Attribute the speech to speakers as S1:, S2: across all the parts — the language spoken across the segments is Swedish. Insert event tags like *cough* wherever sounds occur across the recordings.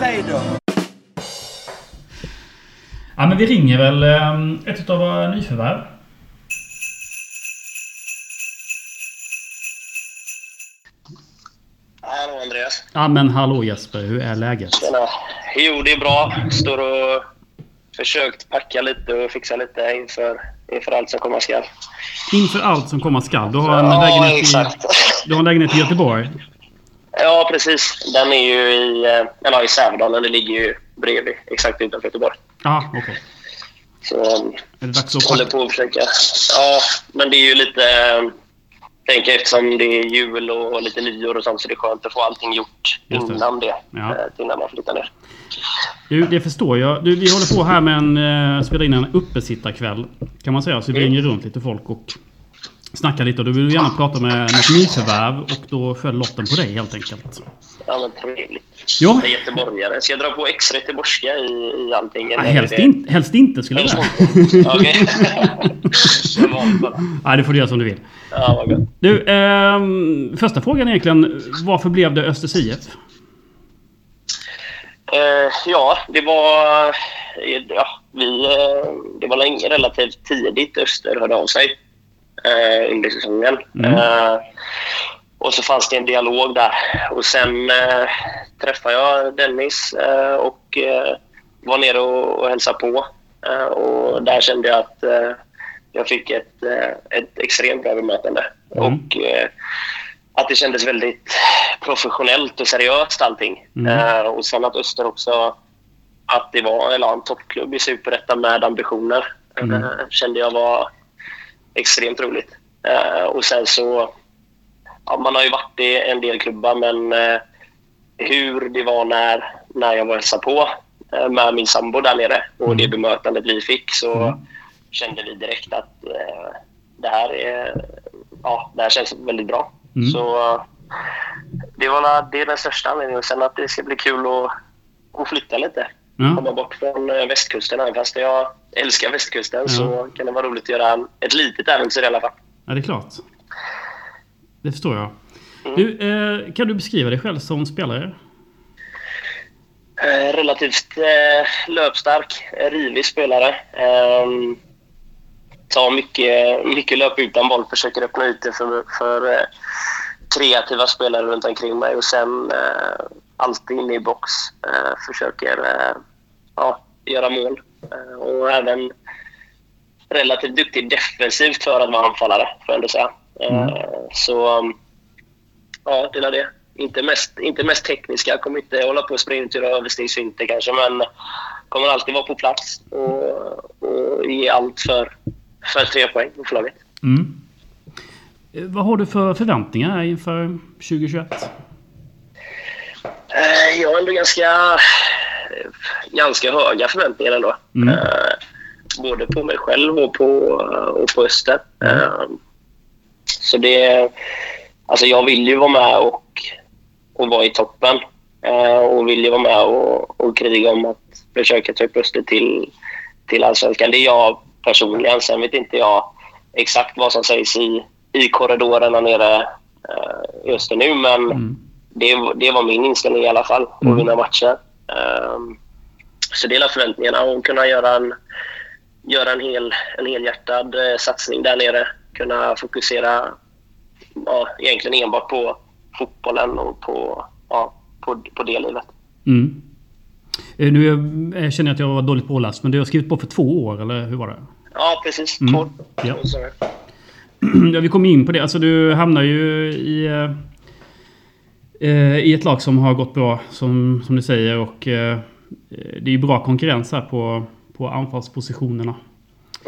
S1: Hej då!
S2: Ja, men vi ringer väl ehm, ett av våra nyförvärv.
S3: Hallå Andreas.
S2: Ja, men hallå Jesper, hur är läget?
S3: Tjena. Jo, det är bra. Står och försökt packa lite och fixa lite inför, inför allt som komma skall.
S2: Inför allt som komma skall. Du har en,
S3: Ja,
S2: lägenhet, i,
S3: exakt.
S2: du har en lägenhet i Göteborg.
S3: Ja, precis. Den är ju i, eh, eller, i Sävedalen. Det ligger ju bredvid, exakt utanför Göteborg.
S2: Ja, okej.
S3: Så um,
S2: Är det dags att
S3: håller
S2: packa?
S3: på att försöka. Ja, men det är ju lite... eh, Tänker jag, eftersom det är jul och lite nyår och sånt så det är skönt att få allting gjort
S2: Just det.
S3: innan det.
S2: Ja.
S3: eh, Innan man flyttar ner.
S2: Du, det förstår jag. Du, vi håller på här med en... Eh, spelar in en uppesittarkväll. Kan man säga. Så
S3: Mm.
S2: vi ringer runt lite folk och snackar lite. Och du vill du gärna prata med något nyförvärv. Och då föll lotten på dig helt enkelt.
S3: Ja, men trevligt.
S2: Ja,
S3: Jag är göteborgare. Ska jag dra på extra göteborgska i, i allting?
S2: ja
S3: eller är
S2: helst,
S3: det-
S2: in, helst inte skulle jag säga.
S3: Okej. *laughs* Det var bara.
S2: *laughs* Nej, det får du göra som du vill.
S3: Ja, vad gott.
S2: Du, ehm, första frågan egentligen. Varför blev det Östers IF?
S3: Eh, ja, det var... eh, Ja, vi, eh, det var länge, relativt tidigt Öster hörde av sig eh, under säsongen.
S2: Mm.
S3: Eh, och så fanns det en dialog där. Och sen eh, träffade jag Dennis eh, och eh, var nere och, och hälsade på. Eh, och där kände jag att eh, jag fick ett, eh, ett extremt bra bemötande.
S2: Mm.
S3: Och, eh, att det kändes väldigt professionellt och seriöst allting.
S2: Mm.
S3: Eh, och sen att Öster också, att det var eller, en toppklubb i Superettan med ambitioner
S2: Mm.
S3: eh, kände jag var extremt roligt. Eh, och sen så, ja, man har ju varit i en del klubbar men eh, hur det var när, när jag var och hälsade på eh, med min sambo där nere och
S2: Mm.
S3: det bemötandet vi fick så
S2: Mm.
S3: kände vi direkt att eh, det, här är, ja, det här känns väldigt bra.
S2: Mm.
S3: Så eh, det, var, la- det är den största anledningen. Och sen att det ska bli kul att, att flytta lite.
S2: Ja,
S3: Komma bort från eh, västkusten. Även fast jag älskar västkusten
S2: Ja.
S3: så kan det vara roligt att göra en, ett litet äventyr i alla fall.
S2: ja det är klart. Det förstår jag. Du, eh, kan du beskriva dig själv som spelare?
S3: Eh, relativt eh, löpstark, eh, rivig spelare. Ehm, tar mycket, mycket löp utan boll, försöker öppna ytor för, för eh, kreativa spelare runt omkring mig och sen eh, alltid inne i box. Eh, försöker eh, ja, göra mål eh, och även relativt duktig defensivt för att vara anfallare, får jag ändå säga. Eh, Så um, ja, det är det. Inte mest, inte mest tekniska, kommer inte hålla på och springa ut och göra överstegsfinter kanske, men kommer alltid vara på plats och, och ge allt för, för tre poäng för laget.
S2: Mm. Eh, Vad har du för förväntningar inför 2021?
S3: Eh, Jag har ändå ganska, ganska höga förväntningar ändå.
S2: Mm.
S3: Eh, Både på mig själv och på, och på Öster.
S2: Mm.
S3: Eh, Så det... Alltså jag vill ju vara med och, och vara i toppen. Eh, Och vill ju vara med och, och kriga om att försöka ta upp Öster till, till allsvenskan. Det är jag personligen. Sen vet inte jag exakt vad som sägs i, i korridorerna nere eh, i Öster nu, men
S2: Mm.
S3: det, det var min inställning i alla fall,
S2: Mm.
S3: att vinna matcher. Ehm, så det är alla förväntningarna och kunna göra en, göra en, hel, en helhjärtad eh, satsning där nere. Kunna fokusera ja, egentligen enbart på fotbollen och på, ja, på, på det livet.
S2: Mm. Eh, Nu eh, känner jag att jag var dåligt påläst, men du har skrivit på för två år, eller hur var det?
S3: Ja, precis.
S2: Mm.
S3: Två.
S2: Ja.
S3: Så är det.
S2: Ja, vi kom in på det. Alltså du hamnar ju i... eh, eh, I ett lag som har gått bra, som, som du säger. Och eh, det är ju bra konkurrens här på, på anfallspositionerna.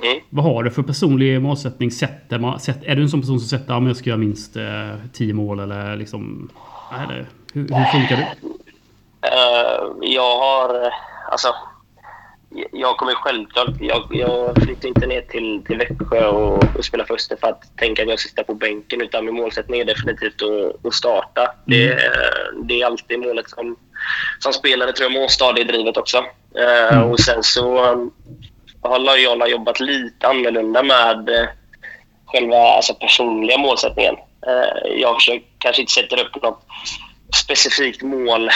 S3: Mm.
S2: Vad har du för personlig målsättning? Sätter man, sätt, är du en sån person som sätter att jag ska göra minst eh, 10 mål eller liksom... Eller, hur, hur funkar du?
S3: Eh, jag har... eh, Alltså, jag- jag kommer självklart... Jag, jag flyttar inte ner till, till Växjö och, och spelar för Öster för att tänka att jag ska sitta på bänken. Utan min målsättning är definitivt att, att starta. Det, eh, det är alltid målet som, som spelare, tror jag, måste ha det drivet också. Eh,
S2: Mm.
S3: Och sen så eh, har Loyola jobbat lite annorlunda med eh, själva alltså, personliga målsättningen. Eh, Jag försöker, kanske inte sätter upp något specifikt mål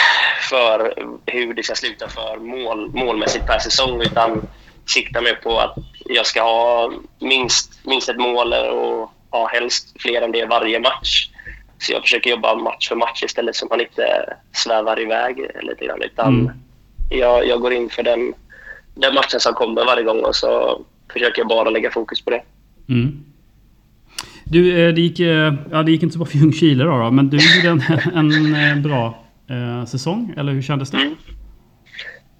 S3: för hur det ska sluta för mål, målmässigt per säsong utan siktar mer på att jag ska ha minst, minst ett mål och ja, helst fler än det varje match. Så jag försöker jobba match för match istället så man inte svävar iväg lite grann. Utan
S2: Mm.
S3: jag, jag går in för den, den matchen som kommer varje gång och så försöker jag bara lägga fokus på det.
S2: Mm. Du, eh, det gick, eh, ja, det gick inte så bra för Ljungskile då, då, men du gjorde en, *laughs* en eh, bra eh, säsong, eller hur kändes det?
S3: Mm.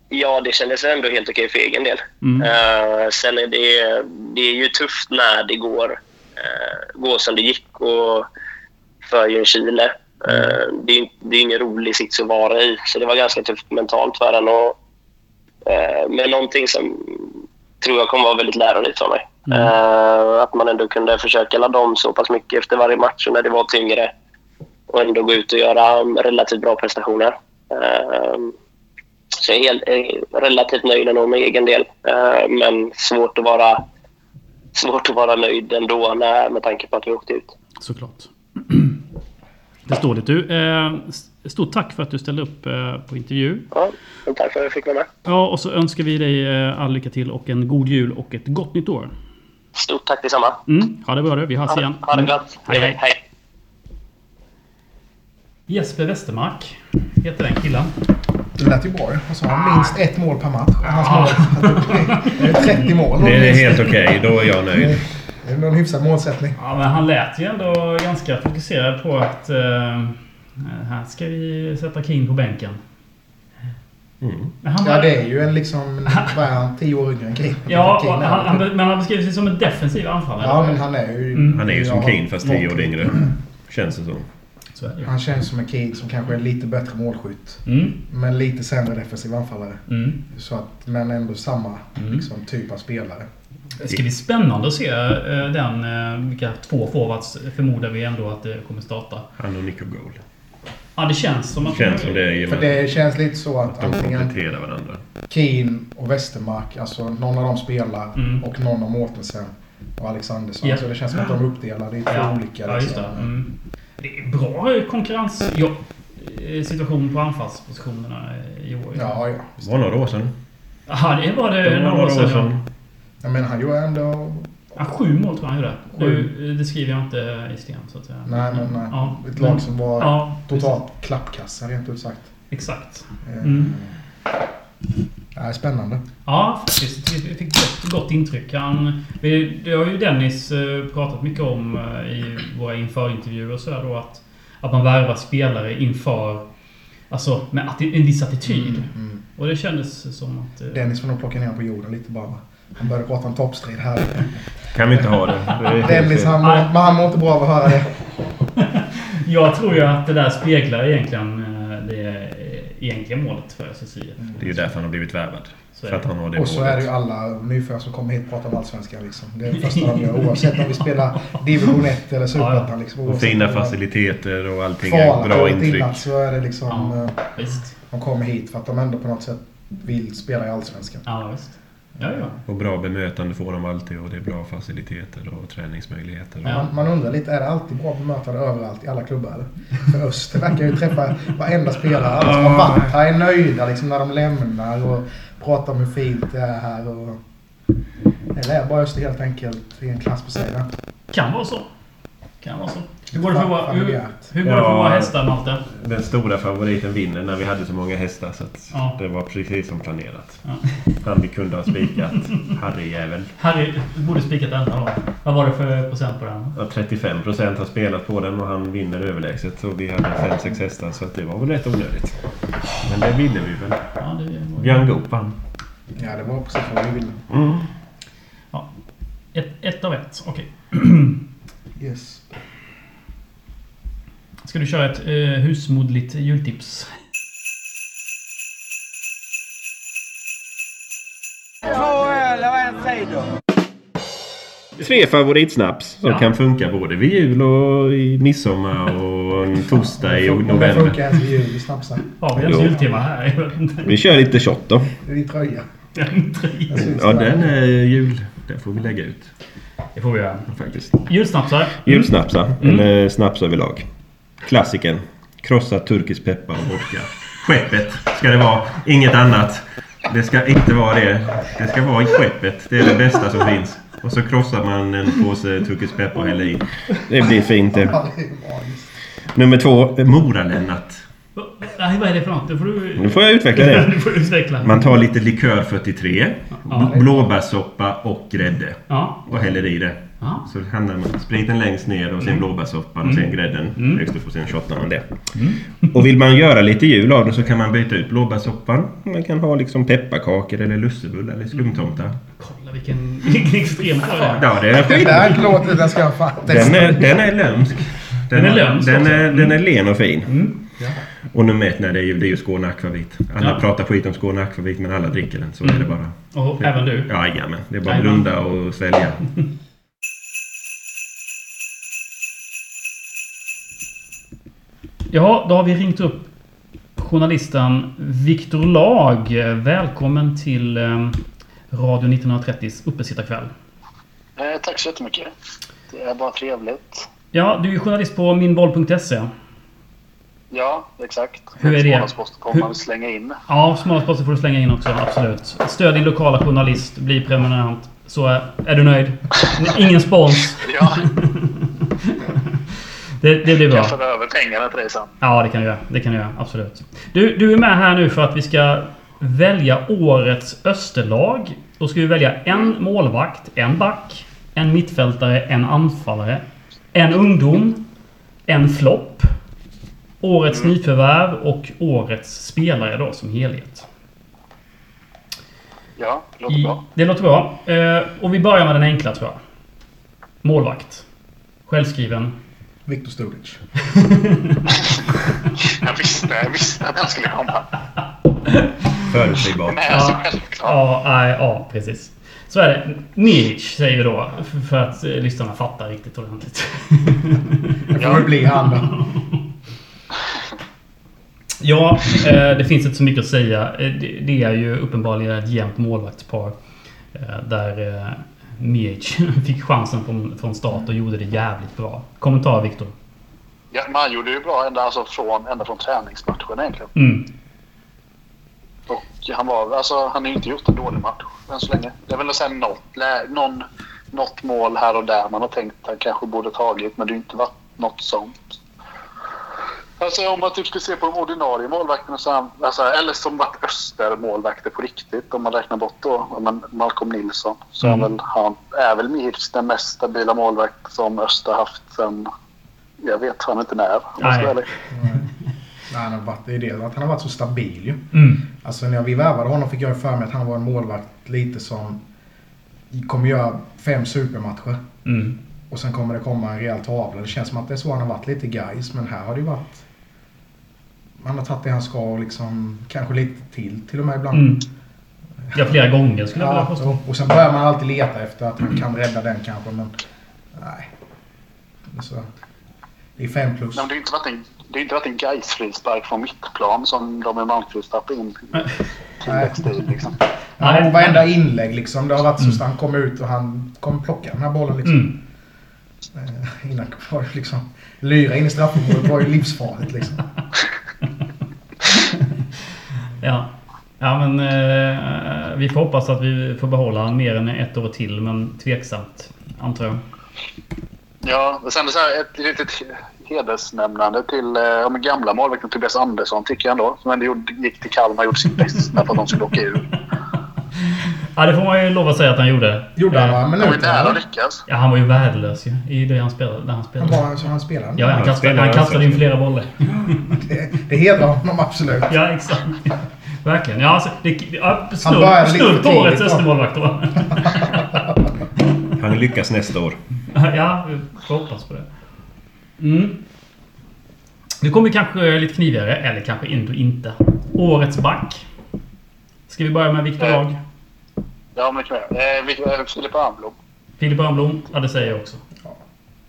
S3: Ja, det kändes ändå helt okej för egen del.
S2: Mm.
S3: Eh, sen är det, det är ju tufft när det går, eh, går som det gick och för Ljungskile. Eh, det, är- det är ingen rolig sits att vara i, så det var ganska tufft mentalt för en. Och, eh, men någonting som tror jag kommer vara väldigt lärorikt för mig.
S2: Mm.
S3: Eh, att man ändå kunde försöka ladda om så pass mycket efter varje match och när det var tyngre och ändå gå ut och göra um, relativt bra prestationer. Ehm, så jag är helt, eh, relativt nöjd ändå med egen del. Eh, men svårt att vara, svårt att vara nöjd ändå när, med tanke på att vi åkte ut.
S2: Såklart. Det står det. Du, eh, s- stort tack för att du ställde upp eh, på intervju.
S3: Ja, men tack för att jag fick vara med.
S2: Ja, och så önskar vi dig eh, all lycka till och en god jul och ett gott nytt år.
S3: Stort tack detsamma.
S2: Mm. Ha det bra du. Vi hörs igen.
S3: Ha, ha det gott.
S2: Mm. Hej, hej.
S3: hej.
S2: Jesper Westermark heter den killen.
S1: Det lät ju bra Och så har han minst ett mål per match. Hans mål. *laughs* Det är 30 mål.
S4: Det är helt okej, då är jag nöjd.
S1: Det är någon hyfsad målsättning.
S2: Ja, men han lät ju ändå ganska fokuserad på att eh, här ska vi sätta King på bänken. Men han,
S1: Mm. Ja,
S2: var-
S1: det är ju en liksom... Vad är han? 10 år yngre än Kane.
S2: ja
S1: Kane
S2: och
S1: är-
S2: han, han, men han beskriver sig som en defensiv anfallare.
S1: Ja, men han är ju...
S2: Mm.
S4: Han är ju som
S1: ja,
S4: Keane fast 10 år
S1: mål-
S4: yngre. Känns det som.
S2: Så är det ju.
S1: Han känns som en Keane som kanske är lite bättre målskytt.
S2: Mm,
S1: Men lite sämre defensiv anfallare.
S2: mm.
S1: Så att, men ändå samma
S2: Mm.
S1: liksom, typ av spelare.
S2: Det ska bli spännande att se eh, den, eh, vilka två forwards förmodar vi ändå att det kommer starta.
S4: Han och Nico Gold.
S2: Ja, det känns som att...
S4: Känns som det är i och
S1: För
S4: med
S1: det känns lite så
S4: att
S1: att
S4: Mm. de
S1: antingen
S4: kompletterar varandra.
S1: Keane och Westermark, alltså någon av dem spelar
S2: Mm.
S1: och någon av Mårtensen och Alexandersson.
S2: Ja.
S1: Så det känns som att de är uppdelade i två
S2: Ja,
S1: olika. liksom.
S2: ja, just det. Mm. Det är bra konkurrens... Ja, eh, situation på anfallspositionerna eh, i år.
S1: ja, ja.
S4: Det var några år sedan.
S2: Ja, det var
S4: Det
S2: det
S4: var
S2: några år sedan. ja.
S1: Ja, men han gjorde ändå...
S2: Ja, sju mål tror jag han gjorde.
S1: Sju.
S2: Nu, eh, det skriver jag inte i sten så att säga.
S1: Nej, men nej.
S2: Ja.
S1: Ett lag som var
S2: Ja,
S1: totalt klappkassa rent ut sagt.
S2: precis. Exakt.
S1: Eh,
S2: Mm.
S1: Ja, spännande.
S2: Ja, faktiskt. Vi fick gott, gott intryck. Han, vi, det har ju Dennis eh, pratat mycket om eh, i våra införintervjuer och sådär då att, att man värvar spelare inför Alltså med atti- en viss attityd.
S1: Mm.
S2: Och det kändes som att... eh,
S1: Dennis får nog plocka ner honom på jorden lite bara. Han började prata om toppstrid här.
S4: Kan vi inte ha det? det är helt
S1: Dennis,
S4: fel.
S1: han mår, men han mår inte bra av att höra det.
S2: Jag tror ju att det där speglar egentligen eh, det eh, egentliga målet för SSI.
S1: Mm.
S4: det är ju därför han har blivit värvad.
S2: Så är
S4: För att han har det
S1: Och så
S4: målet.
S1: är det ju alla nyfödda som kommer hit och pratar om allsvenskan. Liksom. Det är det första de gör oavsett om vi spelar division 1 eller superettan. Liksom,
S4: Och
S1: Oavsett
S4: fina
S1: om det är
S4: faciliteter och allting.
S1: kvala
S4: Är bra
S1: året
S4: intryck.
S1: innan så är det liksom...
S2: Ja.
S1: eh,
S2: Visst.
S1: De kommer hit för att de ändå på något sätt vill spela i allsvenskan.
S2: Ja, visst. Ja, ja.
S4: Och bra bemötande får de alltid och det är bra faciliteter och träningsmöjligheter.
S2: Ja.
S1: Man, man undrar lite, är det alltid bra bemötande överallt i alla klubbar? eller? För Öster verkar ju träffa varenda spelare. Alla som har varit här är nöjda liksom, när de lämnar och pratar om hur fint det är här. Och... Eller är bara Öster helt enkelt i en klass på sig? va?
S2: Kan vara så. Kan vara så. Hur går det för våra, hur,
S1: Familjärt.
S2: hur går det för våra
S4: Ja.
S2: hästar, Malte?
S4: Den stora favoriten vinner när vi hade så många hästar så att
S2: Ja.
S4: det var precis som planerat.
S2: Ja.
S4: Han vi kunde ha spikat, Harry-jäveln.
S2: Harry du borde spikat denna då. Vad var det för procent på den?
S4: Ja, 35 procent har spelat på den och han vinner överlägset. Och vi hade 5-6 hästar så att det var väl rätt onödigt. Men det vinner vi väl.
S2: Ja, det var...
S4: Björn Goop vann.
S1: Ja, det var precis vad vi ville.
S4: Mm.
S2: Ja. Ett, ett av ett. Okej.
S1: Yes.
S2: Ska du köra ett eh, husmodligt jultips?
S4: Tre favoritsnaps som
S2: Ja.
S4: kan funka både vid jul och i midsommar och en torsdag i
S1: Det
S4: november.
S1: funkar ens i jul, vi snapsar.
S2: Har vi ens
S4: Jo.
S2: jultema här? Jag vet inte.
S4: Vi kör lite shot då.
S1: Det är din tröja.
S2: En trio.
S1: Den syns
S4: Ja,
S1: där.
S4: den är jul. Den får vi lägga ut
S2: Det får vi göra.
S4: faktiskt.
S2: Julsnapsar.
S5: Mm.
S4: Julsnapsar, eller snaps överlag. Klassiken.
S5: Krossad turkisk peppar och vodka. Skeppet ska det vara. Inget annat. Det ska inte vara det. Det ska vara i skeppet. Det är det bästa som finns. Och så krossar man en påse turkisk peppar och häller i. Det blir fint det.
S1: Ja, det är ju magiskt.
S5: Nummer två. Mora-Lennart.
S2: Nej, vad är det för något? Det får du...
S5: Nu får jag utveckla det.
S2: *laughs* Du får utveckla.
S5: Man tar lite likör 43.
S2: Ja.
S5: Blåbärssoppa och grädde.
S2: Ja.
S5: Och häller i det.
S2: ja.
S5: Så hamnar man spriten längst ner
S2: Mm.
S5: och sen blåbärssoppan och sen grädden högst upp och sen shottar man det.
S2: Mm.
S5: Och vill man göra lite jul av det så kan man byta ut blåbärssoppan. Man kan ha liksom pepparkakor eller lussebullar eller skumtomtar.
S2: Kolla vilken, *laughs* vilken extrem det är.
S5: Ja, det är
S1: Den
S5: skit.
S1: där låten den ska jag fan
S5: Den
S1: testa.
S5: är, den är lömsk.
S2: Den är lömsk
S5: Den
S2: också. Mm.
S5: är, den är len och fin. Och nummer ett, nej, det är ju, det är ju Skåne Akvavit. Alla
S2: Ja.
S5: pratar skit om Skåne Akvavit men alla dricker den. Så är det bara.
S2: Och även du.
S5: Ja, jajamän. Det är bara att
S2: Jajamän.
S5: blunda och svälja.
S2: Ja, då har vi ringt upp journalisten Viktor Lag. Välkommen till eh, Radio 1930s uppesittarkväll.
S6: Eh, Tack så jättemycket. Det är bara trevligt.
S2: Ja, du är journalist på minboll.se.
S6: Ja, exakt.
S2: Hur är det?
S6: Smålandsposten kommer
S2: Hur-
S6: man slänga in.
S2: Ja, smålandsposten får du slänga in också, absolut. Stöd din lokala journalist, bli prenumerant. Så är, är du nöjd. Ingen spons.
S6: Ja,
S2: *laughs* Det, det blir bra.
S6: jag för över pengarna till dig sen.
S2: Ja, det kan du göra. Det kan du göra, absolut. Du, du är med här nu för att vi ska välja årets Österlag. Då ska vi välja en målvakt, en back, en mittfältare, en anfallare, en ungdom, en flopp, årets
S6: Mm.
S2: nyförvärv och årets spelare då som helhet.
S6: Ja, det låter
S2: I,
S6: bra.
S2: det låter bra. Eh, och vi börjar med den enkla tror jag. Målvakt. Självskriven.
S1: Viktor Stulic.
S6: Jag visste, jag visste att den skulle komma.
S5: Förutsägbart.
S6: Den är så självklar.
S2: Ja, nej, ja, precis. Så är det. Milic säger vi då, f- för att eh, lyssnarna fattar riktigt ordentligt. *laughs*
S1: Det får väl bli han då.
S2: ja, eh, det finns inte så mycket att säga. Eh, det- Det är ju uppenbarligen ett jämnt målvaktspar. eh, Där eh, Milic *laughs* fick chansen från, från start och gjorde det jävligt bra. Kommentar Viktor?
S6: Ja, man gjorde ju bra ända, alltså från, ända från träningsmatchen egentligen.
S2: Mm.
S6: Och han, var, alltså, han har ju inte gjort en dålig match än så länge. Det är väl sen något, lä- någon, något mål här och där man har tänkt att han kanske borde tagit, men det har ju inte varit något sånt. Alltså om man typ skulle se på de ordinarie målvakterna, så han, alltså, eller som varit östermålvakter på riktigt, om man räknar bort då ja, men Malcolm Nilsson, så är
S2: Mm.
S6: väl, han är väl Mihic den mest stabila målvakt som Öster haft sen, jag vet fan inte när. om jag ska
S2: Nej.
S6: vara ärlig.
S1: Nej, han har varit, det är det att han har varit så stabil ju.
S2: Mm.
S1: Alltså när vi värvade honom fick jag ju för mig att han var en målvakt lite som kommer göra fem supermatcher.
S2: Mm.
S1: Och sen kommer det komma en rejäl tavla. Det känns som att det är så han har varit lite guys men här har det ju varit... Han har tagit det han ska och liksom kanske lite till till och med ibland.
S2: Mm. Ja, flera gånger skulle jag vilja
S1: Ja,
S2: påstå.
S1: och, och sen börjar man alltid leta efter att han kan rädda den kanske men... Nej. Så, det är fem plus.
S6: Nej, men det har ju inte varit en, det har ju inte varit en Gais frispark från mittplan som de i Malmqvist tappade in i tilläggstid. Liksom.
S1: Ja,
S2: Nej.
S1: och varenda inlägg liksom. Det har varit så att han kom ut och han kom plocka den här bollen liksom.
S2: Mm.
S1: Eh, Innan var det liksom... Lyra in i straffområdet var ju livsfarligt liksom.
S2: Ja. Ja men eh, vi får hoppas att vi får behålla han mer än ett år till men tveksamt antar jag.
S6: Ja, och sen så här, ett litet hedersnämnande till eh, ja, men gamla målvakten Tobias Andersson tycker jag ändå. Som ändå gjorde, gick till Kalmar och gjorde sitt bästa för att de skulle åka ur.
S2: Ja det får man ju lov att säga att han gjorde.
S1: Gjorde han
S2: Eh,
S1: några
S6: De var ju
S1: minuter?
S6: nära att
S1: eller?
S6: lyckas.
S2: Ja han var ju värdelös ju i det han spelade. När han
S1: Han
S2: spelade.
S1: var så han spelade.
S2: Ja, han
S5: Han
S2: kastade,
S5: spelar
S2: han kastade in
S5: alltså.
S2: flera bollar.
S1: Det, det hedrar honom absolut.
S2: Ja exakt. Verkligen. Ja, alltså, det, ja,
S1: började
S2: snudd,
S1: lite
S2: snudd på
S1: tidigt,
S2: årets
S1: va?
S2: Östermålvakt då.
S5: Han lyckas nästa år.
S2: *laughs* Ja, vi får hoppas på det. Mm. Nu kommer vi kanske lite knivigare, eller kanske ändå inte. Årets back. Ska vi börja med
S1: Eh.
S2: Viktor Lag?
S6: Ja, men det kan jag göra. eh, vi- eh, Filip Almblom.
S2: Filip Örnblom? Ja, det säger jag också.
S1: Ja.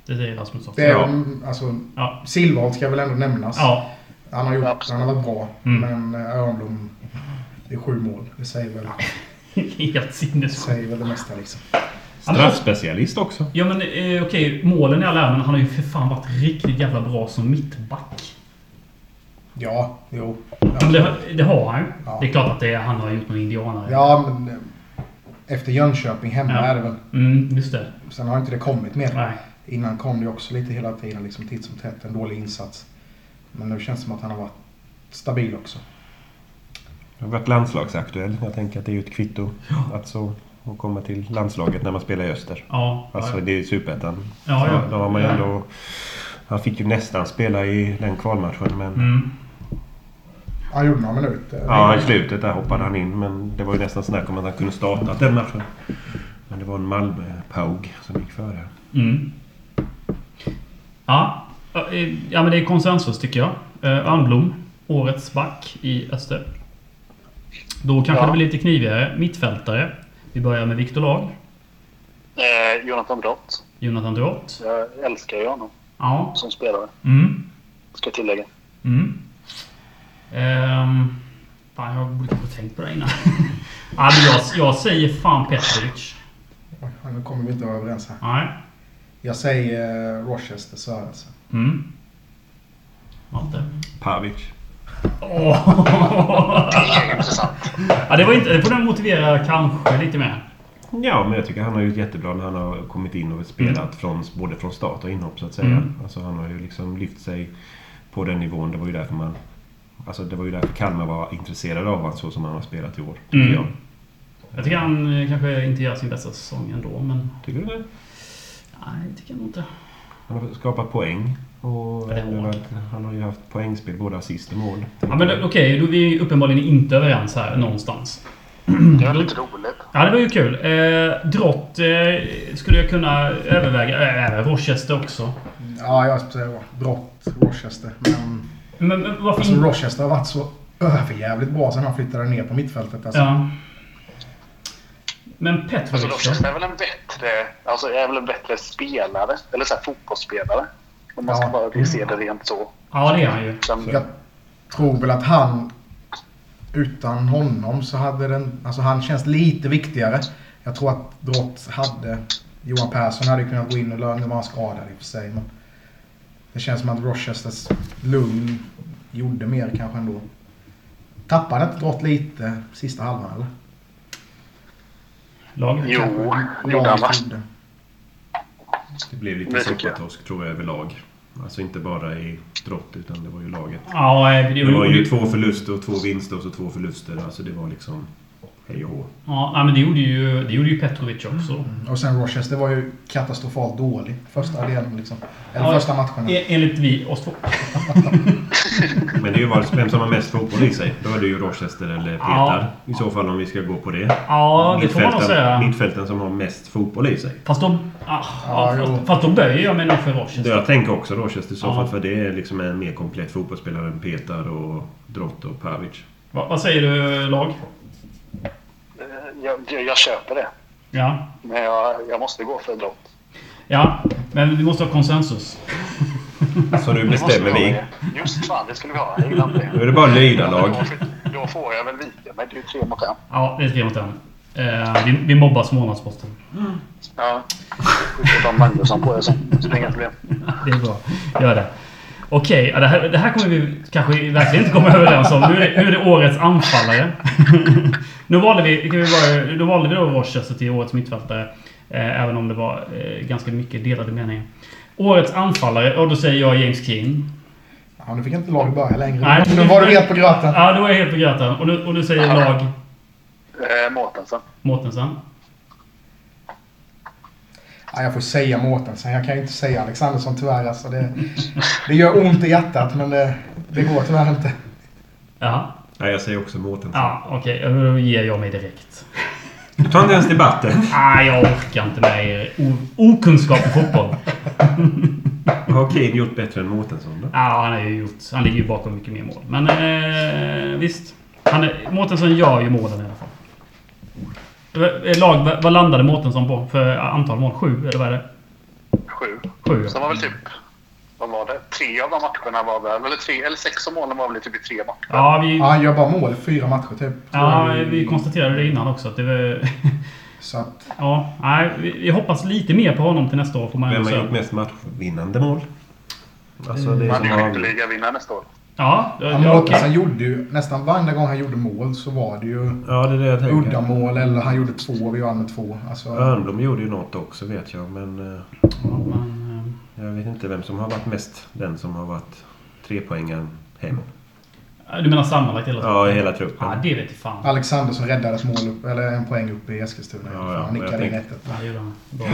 S2: Det säger Rasmus också.
S1: Det är,
S5: Ja.
S1: mm, alltså,
S2: Ja.
S1: Silvholt ska väl ändå nämnas.
S2: Ja. *laughs*
S1: Han, har gjort,
S6: Absolut.
S1: han har varit bra.
S2: Mm.
S1: Men eh, Örnblom, det är sju mål. Det säger väl,
S2: Helt
S1: det,
S2: sinnessjukt.
S1: säger väl det mesta liksom.
S2: Alltså-
S5: Straffspecialist också.
S2: Ja men eh, okej, målen i all ära, men han har ju för fan varit riktigt jävla bra som mittback.
S1: Ja, jo.
S2: Ja, men
S1: Ja,
S2: Det, det har han ju.
S1: Ja.
S2: Det är klart att det är, han har gjort någon indianare.
S1: ja men eh, efter Jönköping hemma
S2: Ja.
S1: är det väl.
S2: Mm, just det.
S1: Sen har inte det kommit mer.
S2: Nej.
S1: Innan kom det också lite hela tiden, liksom titt som tätt, en dålig insats. Men nu känns det som att han har varit stabil också.
S5: Du har varit landslagsaktuell. Jag tänker att det är ju ett kvitto att så att komma till landslaget när man spelar i öster.
S2: Ja.
S5: Alltså det är ju superettan.
S2: Ja,
S5: Så
S2: ja.
S5: Då har man ju ändå... Han fick ju nästan spela i den kvalmatchen men...
S2: Mm.
S1: Han gjorde några minuter.
S5: Ja, i slutet där hoppade han in men det var ju nästan snack om att han kunde starta den matchen. Men det var en Malmö-paug som gick före.
S2: Mm. Ja. eh, ja, men det är konsensus tycker jag. Eh, Almblom, årets back i öster. Då kanske
S6: Ja.
S2: det blir lite knivigare. Mittfältare. Vi börjar med Viktor Lag,
S6: Eh, Jonathan Brott.
S2: Jonathan Drott.
S6: Jag älskar ju honom
S2: Ja.
S6: som spelare,
S2: Mm.
S6: ska jag tillägga.
S2: Mm. Ehm, fan, jag borde kanske ha tänkt på det innan. *laughs* ja, men jag, jag säger fan Petrovic.
S1: Oj, Nu kommer vi inte vara överens här.
S2: Nej.
S1: Jag säger eh, Rochester Sörensen.
S2: Mm. Malte.
S5: Pavic.
S6: Det är intressant.
S2: *laughs* Ja, det var inte... Det får den motivera kanske lite mer.
S5: Ja, men jag tycker han har gjort jättebra när han har kommit in och spelat från, både från start och inhopp så att säga.
S2: Mm.
S5: Alltså, han har ju liksom lyft sig på den nivån. Det var ju därför man... Alltså det var ju därför Kalmar var intresserade av honom så som han har spelat i år. Tycker
S2: Mm.
S5: jag.
S2: Jag tycker han eh, kanske inte gör sin bästa säsong ändå, men...
S5: Tycker du det?
S2: Nej, det tycker jag nog inte.
S5: Han har skapat poäng. Och
S2: Ja, det har han.
S5: han har ju haft poängspel, både assist och mål.
S2: Ja, men okej, då är vi uppenbarligen inte överens här någonstans.
S6: Det var lite roligt.
S2: Ja, det var ju kul. Eh, Drott eh, skulle jag kunna överväga. Eh, Även Rochester också.
S1: Ja, jag säger Brott, Rochester. Men
S2: Men, men varför
S1: alltså,
S2: inte?
S1: Rochester har varit så överjävligt bra sen han flyttade ner på mittfältet. Alltså.
S2: Ja. Men Petrovic
S6: Alltså
S2: då?
S6: Rosqvist är väl en bättre, alltså är väl en bättre spelare, eller så här fotbollsspelare. Om man ska
S1: Ja.
S6: bara se det rent så.
S2: Ja, det är han ju.
S6: Sen,
S1: Jag tror väl att han... Utan honom så hade den... Alltså han känns lite viktigare. Jag tror att Drott hade... Johan Persson hade ju kunnat gå in och lösa... Nu var han skadad i och för sig, men... Det känns som att Rochesters lugn gjorde mer kanske ändå. Tappade inte Drott lite sista halvan eller?
S2: Laget.
S6: Jo,
S1: Kanske.
S6: det gjorde han va?
S5: Det blev lite
S6: Det tycker jag.
S5: soppatorsk tror jag överlag. Alltså inte bara i Drott utan det var ju laget.
S2: Ja, eh, det,
S5: Det var ju två förluster och två vinster och så två förluster. Alltså det var liksom hej och hå.
S2: Ja, nej, men det gjorde ju, det gjorde ju Petrovic också.
S1: Och sen Rochester var ju katastrofalt dålig första delen liksom. Eller
S2: Ja,
S1: första matcherna.
S2: E- enligt vi, oss två.
S5: Men det är ju bara vem som har mest fotboll i sig. Då är det ju Rochester eller Petar. I så fall om vi ska gå på det.
S2: Ja, det får man nog
S5: Mittfältaren-
S2: säga.
S5: Mittfältaren som har mest fotboll i sig.
S2: Fast då, ah,
S1: Ja,
S2: ja,
S1: jo.
S2: fast- fast då böjer jag mig nog för Rochester.
S5: Jag tänker också Rochester i så
S2: Ja.
S5: fall för det är liksom en mer komplett fotbollsspelare än Petar och Drott och Pavic.
S2: Va, vad säger du, lag?
S6: eh, jag, jag, jag köper det.
S2: Ja.
S6: Men jag, jag måste gå för Drott.
S2: ja, men vi måste ha konsensus.
S5: Så nu
S6: Det måste
S5: bestämmer
S6: vi ha
S5: vi.
S6: det. Just fan, det skulle vi ha. Jag gillar inte
S5: Nu är
S6: det.
S5: det bara att lyda lag.
S6: Då får jag väl vika mig. Det är ju tre mot en.
S2: Ja, det är tre mot en. Eh, vi, vi mobbar smålandsposten.
S6: Ja. Skjuter Dan Magnusson på er sen. Så det är inga problem.
S2: *laughs* Det är bra. Gör det. Okej, ja, det, här, det här kommer vi kanske verkligen inte komma överens om. Nu är det, nu är det årets anfallare. *laughs* nu valde vi, kan vi bara, då valde vi då Rochester till årets mittfältare. Eh, även om det var eh, ganska mycket delade meningar. Årets anfallare, och då säger jag James Keane.
S1: Ja, nu fick inte laget börja längre.
S2: Nej.
S1: Nu var du helt på gröten.
S2: Ja, då är jag helt på gröten. Och nu, och nu säger lag
S6: Eh, Mårtensson.
S2: Mårtensson.
S1: Ja, jag får säga Mårtensson. Jag kan ju inte säga Alexandersson tyvärr. Alltså, det, det gör ont i hjärtat men det, det går tyvärr inte.
S2: Ja,
S5: Nej, jag säger också Mårtensson.
S2: ja okej. Då ger jag mig direkt.
S5: Du tar inte ens debatten. *laughs*
S2: Nej, jag orkar inte med er o- okunskap i fotboll. *laughs*
S5: Har Kane gjort bättre än Mårtensson då?
S2: Ja, han, är ju gjort, han ligger ju bakom mycket mer mål. Men eh, visst. Han är, Mårtensson gör ju målen i alla fall. V- eh, Lag, v- vad landade Mårtensson på för antal mål? Sju, eller vad är det?
S6: Sju.
S2: Sju,
S6: Så
S2: ja.
S6: var väl typ... Vad var det? Tre av de matcherna var väl... Eller, tre, eller sex av målen var väl typ i tre matcher.
S2: Ja,
S1: Ja,
S2: vi,
S1: han gör bara mål i fyra matcher typ.
S2: ja, vi konstaterade det innan också. Att det var, *laughs*
S1: Så att,
S2: ja, nej, vi, vi hoppas lite mer på honom till nästa år, får man
S5: Vem
S2: ändå
S5: har gjort
S2: säga.
S5: mest matchvinnande mål? Alltså det är
S6: Man
S5: som
S6: är
S5: har...
S6: skytteligavinnare nästa år.
S2: Ja, ja,
S1: Han
S2: ja, okej.
S1: Mårtensson gjorde ju, nästan varenda gång han gjorde mål så var det ju
S5: Ja, det är det jag tänker.
S1: uddamål eller han gjorde två och vi vann med två. Alltså,
S5: Örnblom gjorde ju något också vet jag, men eh,
S2: Ja, men, eh,
S5: jag vet inte vem som har varit mest den som har varit trepoängaren hem.
S2: eh, Du menar sammanlagt hela
S5: Ja, i hela
S2: Ja,
S5: truppen.
S2: det vet jag fan.
S1: Alexandersson räddade ett mål upp, eller en poäng upp i Eskilstuna.
S5: Ja, ja,
S1: han nickade
S5: jag
S1: in
S5: tänkte-
S1: rättet.
S2: Ja, det gjorde han. Bra.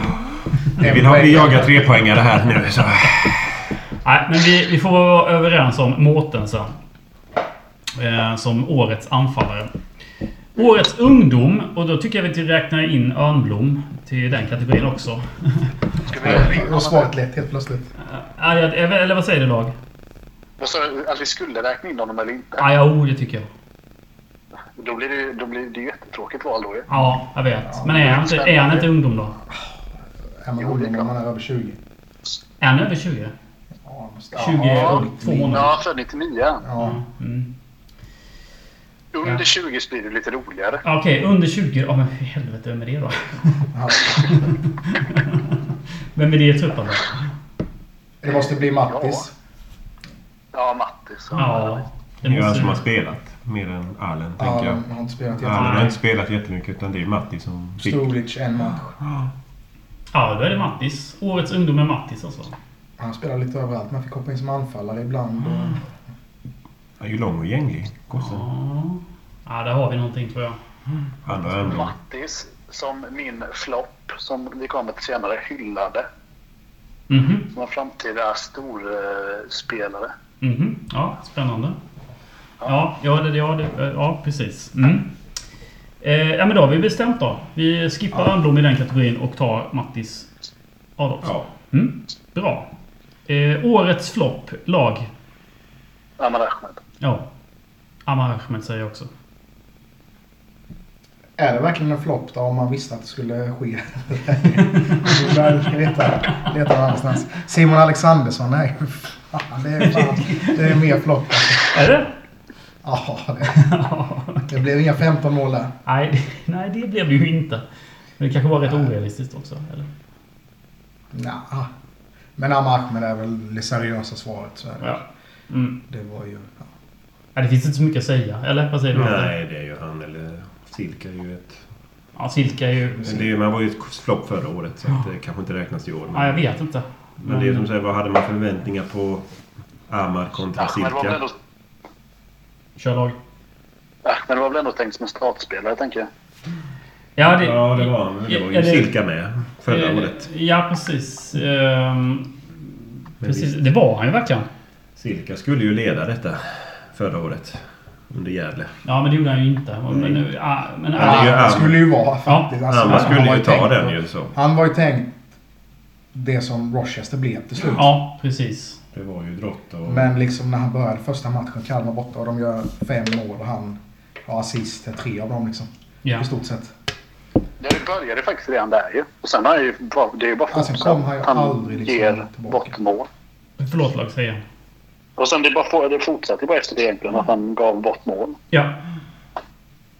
S1: En
S5: Vill ha,
S1: poäng.
S5: vi jagar trepoängare här nu. Så.
S2: Nej, men vi, vi får vara överens om Mårtensson. Eh, som årets anfallare. Årets ungdom, och då tycker jag vi räknar in Örnblom till den kategorin också. *laughs*
S6: Ska
S1: Det var svaret lätt helt plötsligt.
S2: Ja, jag- Eller vad säger du Dag?
S6: Vad sa du? Att vi skulle räkna in honom eller inte?
S2: Ja, ja, oh, det tycker jag.
S6: Då blir det ju då blir det ju jättetråkigt val då ju.
S2: Ja, jag vet. Men är han inte, är han inte ungdom då?
S1: Är man
S6: Jo, det är
S1: ung när man är över 20?
S2: Är han över 20?
S1: Ja, måste-
S2: 20
S6: Ja,
S2: och två månader.
S6: Ja, född 99.
S1: Ja.
S2: Mm.
S6: Under 20 blir det lite roligare.
S2: Ja, Ah, Okej, under 20. Ja, men för helvete, vem är det då? *laughs*
S1: Ja.
S2: Vem är det i truppen då?
S1: Det måste bli Mattis.
S6: Ja, Mattis.
S2: Ja, det
S4: Det är han som har
S2: måste...
S4: spelat mer än Allen,
S1: Ja,
S4: tänker jag.
S1: han har inte spelat
S4: Allen
S1: jättemycket.
S4: har inte spelat jättemycket, utan det är Matti som fick.
S1: Storlic en match.
S2: Ja, då är det Mattis. Årets ungdom är Mattis alltså.
S1: Han spelar lite överallt. Man fick hoppa in som anfallare ibland.
S4: Han är ju lång och gänglig, gossen.
S2: Ja. Ja, där har vi någonting tror jag.
S4: Han och Örnblom.
S6: Mattis, som min flopp, som vi kommer till senare, hyllade
S2: Mhm.
S6: som en framtida eh, storspelare.
S2: Mhm. Ja, spännande. Ja, ja, det, ja, det, ja precis. Mm. Eh, ja, men då har vi bestämt då. Vi skippar Örnblom i den kategorin och tar Mattis Adolfsson.
S4: Ja.
S2: Mm. Bra. Eh, årets flopp, lag.
S6: Amal Ahmed.
S2: Ja. Ammar Ahmed säger jag också.
S1: Är det verkligen en flopp då om man visste att det skulle ske? Vi börjar leta, leta någon annanstans. Simon Alexandersson, nej. Fan, det, är fan, det är mer flopp.
S2: Är det?
S1: Ja, det, det blev inga 15 mål där.
S2: *laughs* nej, det- nej, det blev det ju inte. Men det kanske var rätt orealistiskt också. Eller?
S1: Nja. Men Ammar Ahmed är väl det seriösa svaret. Så är det.
S2: Ja. Mm.
S1: det var ju... Ja.
S2: ja. Det finns inte så mycket att säga. Eller vad säger du?
S5: Nej, det är ju han eller Silka är ju ett...
S2: Ja, Silka är ju...
S5: Men det är, ju- man var ju ett flopp förra året så att det kanske inte räknas i år.
S2: Ja, jag
S5: Men,
S2: vet inte.
S5: men det är som säger, vad hade man förväntningar på Amar kontra
S6: Ahmed var, väl ändå,
S5: Silka?
S2: Kör lag.
S6: Ahmed var väl ändå tänkt som en startspelare, tänker jag.
S2: Ja, det,
S5: Ja, det var han. men Det var ju
S2: Eller-
S5: Silka med förra
S2: eh,
S5: året.
S2: Ja, precis. Ehm,
S5: Men
S2: precis.
S5: visst,
S2: Det var han ju verkligen.
S5: Silka skulle ju leda detta förra året under Gävle.
S2: Ja, men det gjorde han ju inte. Men, nu- ja, men,
S5: det är
S1: Ja,
S5: ju
S1: han
S5: Am-
S1: skulle ju vara faktiskt.
S5: Ja, man
S1: han var
S5: skulle ju ta
S1: tänkt-
S5: den ju så.
S1: Han var ju tänkt det som Rochester blev till slut.
S2: ah, ja, precis.
S5: Det var ju Drott och...
S1: Men liksom när han började första matchen, Kalmar borta och de gör fem mål och han har assist till tre av dem liksom.
S2: Ja.
S1: I stort sett.
S6: Ja, Det började faktiskt redan där ju. Och sen har jag ju bara, det är ju bara
S1: Ja, sen
S6: fortsatt.
S1: kom han ju aldrig liksom
S6: ger
S1: tillbaka.
S6: bort mål.
S2: Förlåt lag, säger jag.
S6: Och sen det, bara, får- det fortsatte bara efter det egentligen, att han gav bort mål.
S2: Ja.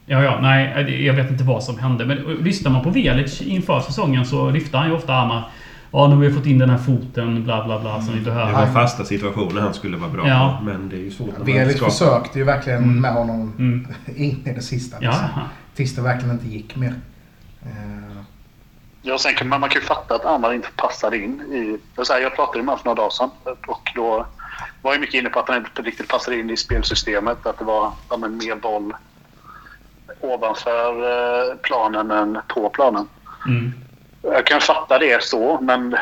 S2: Ja, ja, nej, eh, det- jag vet inte vad som hände. Men och, lyssnar man på Velic inför säsongen så lyfter han ju ofta armar. Ja, nu har vi fått in den här foten, bla bla bla, som vi
S5: Mm. Det
S2: behöver.
S5: var fasta situationer han skulle vara bra
S2: Ja.
S5: på. Men det Mm. är ju svårt när man
S1: Velic
S5: inte ska...
S1: försökte ju verkligen med honom *laughs* in i det sista. Liksom.
S2: Ja,
S1: Tills det verkligen inte gick mer. Eh,
S6: Ja, sen kan man, man kan ju fatta att Amar inte passade in i... Jag, så här, jag pratade med honom för några dagar sedan och då var jag mycket inne på att han inte riktigt passade in i spelsystemet. Att det var ja, men, mer boll ovanför eh, planen än på planen.
S2: Mm.
S6: Jag kan fatta det så, men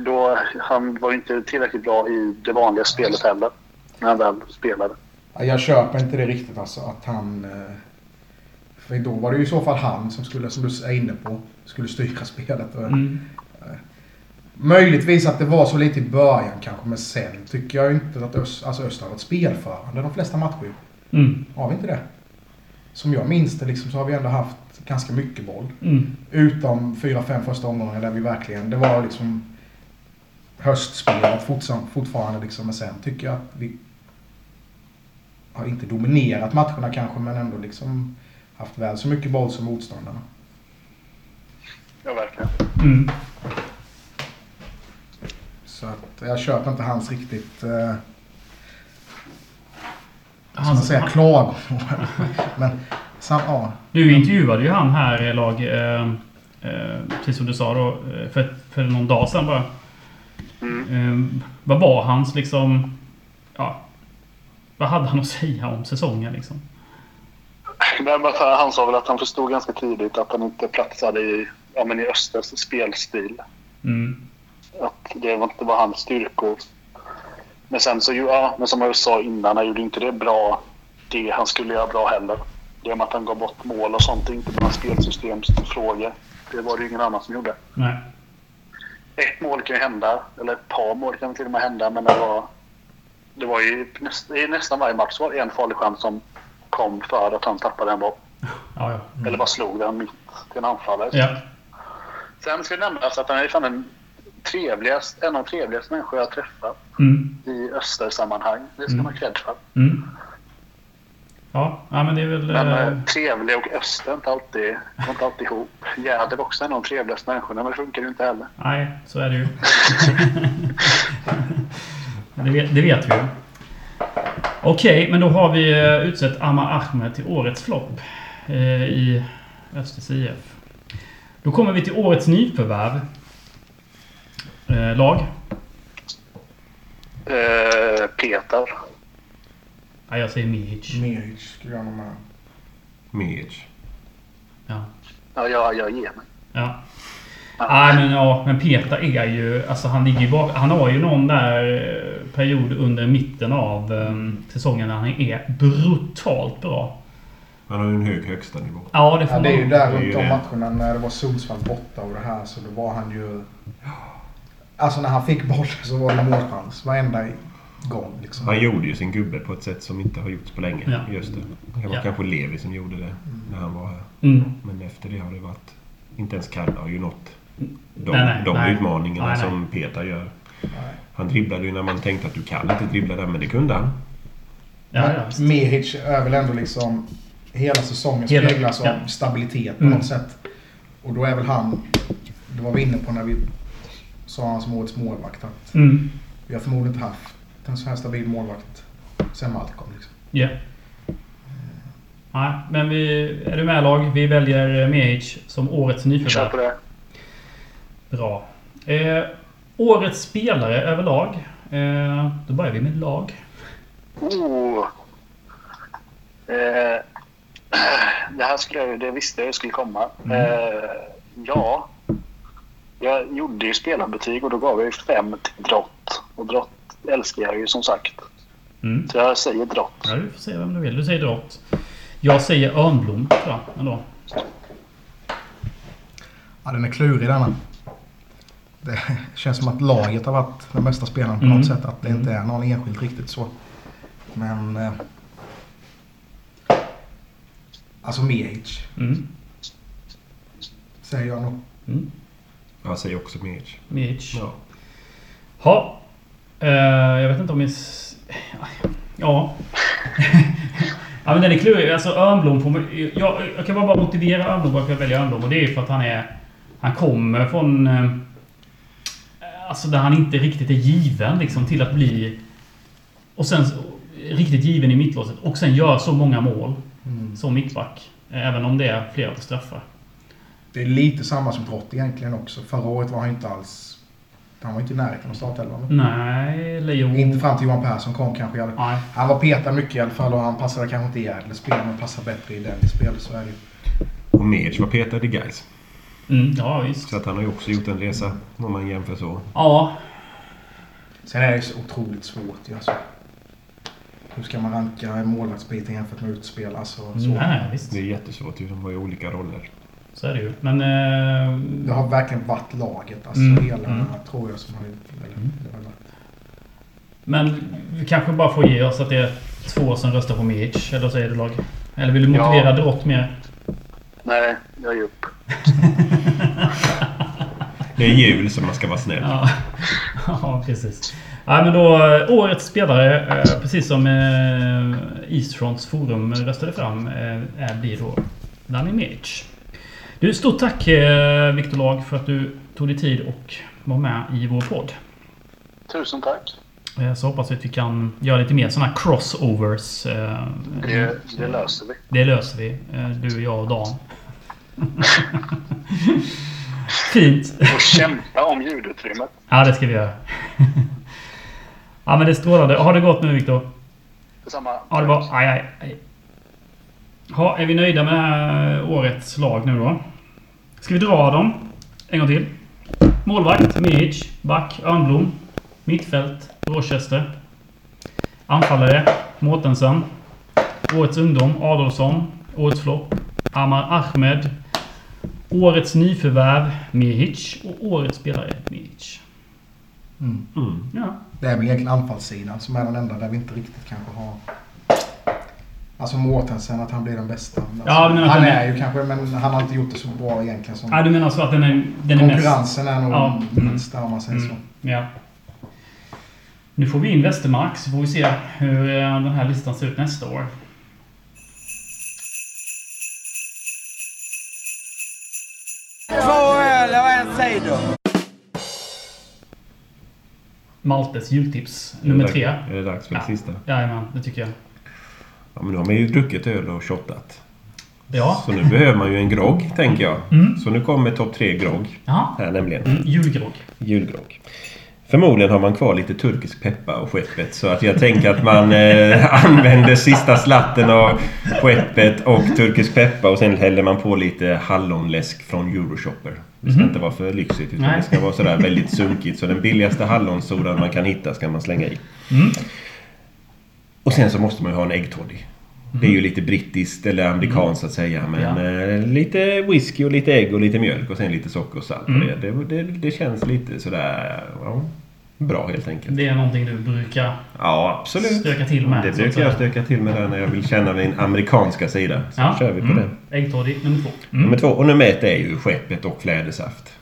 S6: då, han var ju inte tillräckligt bra i det vanliga spelet heller. När han väl spelade.
S1: ja, jag köper inte det riktigt alltså att han... eh, För då var det ju i så fall han som skulle, som du är inne på, skulle styra spelet. Och,
S2: Mm.
S1: Möjligtvis att det var så lite i början kanske, men sen tycker jag ju inte att Öst, alltså Öst har varit spelförande de flesta matcher. ju.
S2: Mm.
S1: Har vi inte det? Som jag minns det liksom, så har vi ändå haft ganska mycket boll.
S2: Mm.
S1: Utom fyra, fem första omgångar där vi verkligen, det var liksom höstspelet fortfarande, fortfarande liksom. Men sen tycker jag att vi har inte dominerat matcherna kanske, men ändå liksom haft väl så mycket boll som motståndarna.
S6: Ja, verkligen.
S2: Mm.
S1: Så att jag köper inte hans riktigt... Eh, som man säger, klagar på det. Men sam, ja,
S2: Du intervjuade ju han här eh, lag, eh, eh, precis som du sa då, eh, för, för någon dag sedan bara. Eh, vad var hans liksom... Ja, vad hade han att säga om säsongen liksom?
S6: Nej, men för han sa väl att han förstod ganska tidigt att han inte platsade i, ja, men i Östers spelstil.
S2: Mm.
S6: Att det var inte var hans styrkor. Men sen så, ju- ja, men som jag sa innan, han gjorde inte det bra, det han skulle göra bra heller. Det med att han gav bort mål och sånt är inte bara spelsystemsfrågor. Det var det ju ingen annan som gjorde.
S2: Nej.
S6: Ett mål kan ju hända, eller ett par mål kan till och med hända, men det var... Det var ju näst, i nästan varje match var det en farlig chans som kom för att han tappade en boll.
S2: Ja, ja.
S6: Eller bara slog den mitt till en anfallare.
S2: Mm. ja.
S6: Sen ska det nämnas att han är fan den trevligast, en av de trevligaste människor jag har träffat
S2: Mm.
S6: i östersammanhang. Det ska man ha cred för.
S2: Mm. Ja, ja, men det är väl...
S6: Men
S2: eh,
S6: eh, trevlig och öster är inte alltid, går inte alltid ihop. Gärdet var också en av de trevligaste människorna, men det funkar ju inte heller.
S2: Nej, så är det ju. *laughs* det, vet, det vet vi ju. Okej, men då har vi eh, utsett Amma Ahmed till årets flopp eh, i Östers IF. Då kommer vi till årets nyförvärv. Eh, lag?
S6: Eh, Peter.
S2: Ja, jag säger Mihic.
S1: Miric skulle jag nog med.
S4: Mic.
S2: Ja.
S6: Ja, jag, jag ger mig.
S2: Ja. Nej, men, ja, men Peter är ju... Alltså han ligger ju bak, Han har ju någon där eh, period under mitten av eh, säsongen när han är brutalt bra.
S4: Han har ju en hög högsta nivå.
S2: Ja, det får
S1: Ja, det är ju
S2: man.
S1: där
S4: Det är
S1: runt
S4: ju
S1: de
S4: det.
S1: matcherna när det var Sundsvall borta och det här så då var han ju... Alltså när han fick bollen så var det målchans varenda gång. Liksom.
S4: Han gjorde ju sin gubbe på ett sätt som inte har gjorts på länge.
S2: Ja.
S4: Just det. det var
S2: Ja.
S4: kanske Levi som gjorde det när han var här.
S2: Mm.
S4: Men efter det har det varit... Inte ens Kalle har ju nått de,
S2: Nej, nej,
S4: de
S2: nej.
S4: utmaningarna
S2: Nej, nej.
S4: som Peter gör. Han dribblade ju när man tänkte att du kan inte dribbla där, men det kunde han.
S2: Ja,
S1: Men
S2: ja.
S1: Mihic är väl ändå liksom... Hela säsongen
S2: Hela-
S1: speglas av
S2: ja.
S1: stabilitet på
S2: Mm.
S1: något sätt. Och då är väl han... Det var vi inne på när vi sa han som årets målvakt. Att
S2: Mm.
S1: vi har förmodligen inte haft en så här stabil målvakt sen Malcolm. Liksom.
S2: Ja. Nej, men vi... Är du med lag? Vi väljer Mehic som årets
S6: Kör på
S2: nyförvärv.
S6: det.
S2: Bra. Eh, årets spelare överlag. Eh, då börjar vi med lag.
S6: Oh. Eh, *clears throat* det här skulle jag, det visste jag skulle komma.
S2: Mm.
S6: Eh, ja, jag gjorde ju spelarbetyg och då gav jag ju fem till Drott. Och Drott älskar jag ju som sagt.
S2: Mm.
S6: Så jag säger Drott.
S2: Ja, du får säga vem du vill. Du säger Drott. Jag säger Örnblom, tror jag. Ändå.
S1: Ja, den är klurig denna. Det känns som att laget har varit den bästa spelaren på
S2: Mm.
S1: något sätt. Att det inte är någon enskild riktigt så. Men... Eh, alltså Mihic
S2: Mm.
S1: säger jag nog.
S2: Mm.
S4: Jag säger också Mic.
S2: Mehic.
S4: Ja.
S2: Ja. Eh, jag vet inte om jag... s- Ja. *laughs* ja men den är klurig. Alltså Örnblom får man... Jag, jag kan bara bara motivera Örnblom varför jag väljer Örnblom. Och det är ju för att han är... Han kommer från... eh, Alltså där han inte riktigt är given liksom till att bli... Och sen så- riktigt given i mittlåset. Och sen gör så många mål.
S4: Mm.
S2: Som mittback. Även om det är flera på straffar.
S1: Det är lite samma som Drott egentligen också. Förra året var han inte alls... Han var inte i närheten av startelvan.
S2: Nej, Leon...
S1: Inte fram till Johan Persson kom kanske. i alla fall.
S2: Nej.
S1: Han var petad mycket i alla fall och han passade kanske inte i Gärdles spel men passade bättre i Dennis spel. Så är det ju.
S4: Och Mic var petad i Gais.
S2: Mm, ja, visst.
S4: Så att han har ju också gjort en resa om man jämför så.
S2: Ja,
S1: Sen är det ju så otroligt svårt ju, alltså. Hur ska man ranka målvaktsbiten jämfört med utspel? Alltså, så.
S2: Mm. nej, nej, visst.
S4: Det är jättesvårt ju. De har ju olika roller.
S2: Så är det ju. Men... Eh,
S1: Det har verkligen varit laget. Alltså
S2: Mm,
S1: hela
S2: mm.
S1: tror jag som har gjort det. Eller, det har varit.
S2: men vi kanske bara får ge oss att det är två som röstar på Mihic. Eller så är det lag. Eller vill du
S6: Ja.
S2: motivera Drott mer?
S6: Nej, jag ger upp.
S4: Det är jul så man ska vara snäll.
S2: Ja, *laughs* ja precis. Ja, men då, eh, årets spelare, eh, precis som eh, Eastfronts forum röstade fram, eh, är- blir då Danny Mihic. Du, stort tack eh, Viktor Lag för att du tog dig tid och var med i vår podd.
S6: Tusen tack.
S2: Eh, Så hoppas vi att vi kan göra lite mer sådana här crossovers. eh,
S7: Det, det löser vi.
S2: Det löser vi. eh, Du, jag och Dan. *laughs* Fint.
S7: Och kämpa om ljudutrymmet.
S2: Ja, det ska vi göra. *laughs* Ja, men det är strålande. Ha det gott nu, Viktor.
S7: Detsamma.
S2: Ja, det var... Aj, aj, aj. Ha, är vi nöjda med det här eh, årets lag nu då? Ska vi dra dem? En gång till. Målvakt, Mihic. Back, Örnblom. Mittfält, Rochester. Anfallare, Mårtensson. Årets ungdom, Adolfsson. Årets flopp, Amar Ahmed. Årets nyförvärv, Mihic. Och årets spelare, Mihic.
S1: Mm.
S2: Ja.
S1: Det är väl egentligen anfallssidan som är den enda där vi inte riktigt kanske har... Alltså Mårtensen, att han blir den bästa. Alltså,
S2: Ja, du menar att
S1: han
S2: han är-
S1: är ju kanske, men han har inte gjort det så bra egentligen. Som
S2: ja, du menar så att den är, den är mest...
S1: konkurrensen är nog
S2: Ja. Mm.
S1: minst där om man säger så.
S2: Ja. Nu får vi in Västermark så får vi se hur eh, den här listan ser ut nästa år.
S4: Två öl och en cider.
S2: Maltes jultips nummer tre.
S5: Är det dags för
S2: Ja.
S5: det sista?
S2: Jajamän, det tycker jag.
S5: Ja, men nu har man ju druckit öl och shottat.
S2: Ja.
S5: Så nu behöver man ju en grogg, tänker jag. Så nu kommer topp tre grogg.
S2: Jaha.
S5: Här nämligen.
S2: Mm, julgrogg.
S5: Julgrogg. Förmodligen har man kvar lite turkisk peppar och skeppet så att jag tänker att man eh, *laughs* använder sista slatten av skeppet och turkisk peppar och sen häller man på lite hallonläsk från Euroshopper. Det ska inte vara för lyxigt utan
S2: Nej.
S5: det ska vara sådär väldigt sunkigt så den billigaste hallonsodan man kan hitta ska man slänga i. Och sen så måste man ju ha en äggtoddy. Det är ju lite brittiskt eller amerikanskt att säga men eh, lite whisky och lite ägg och lite mjölk och sen lite socker och salt. på
S2: Mm.
S5: Det, det, det, det känns lite sådär ja, bra helt enkelt.
S2: Det är någonting du brukar
S5: Ja absolut.
S2: stöka till med. så
S5: Det
S2: att
S5: brukar jag
S2: säga.
S5: stöka till med där när jag vill känna min amerikanska sida. Så
S2: Ja.
S5: kör vi på
S2: Mm.
S5: det.
S2: Äggtoddy nummer två.
S5: Nummer två, och nummer ett är ju skeppet och flädersaft.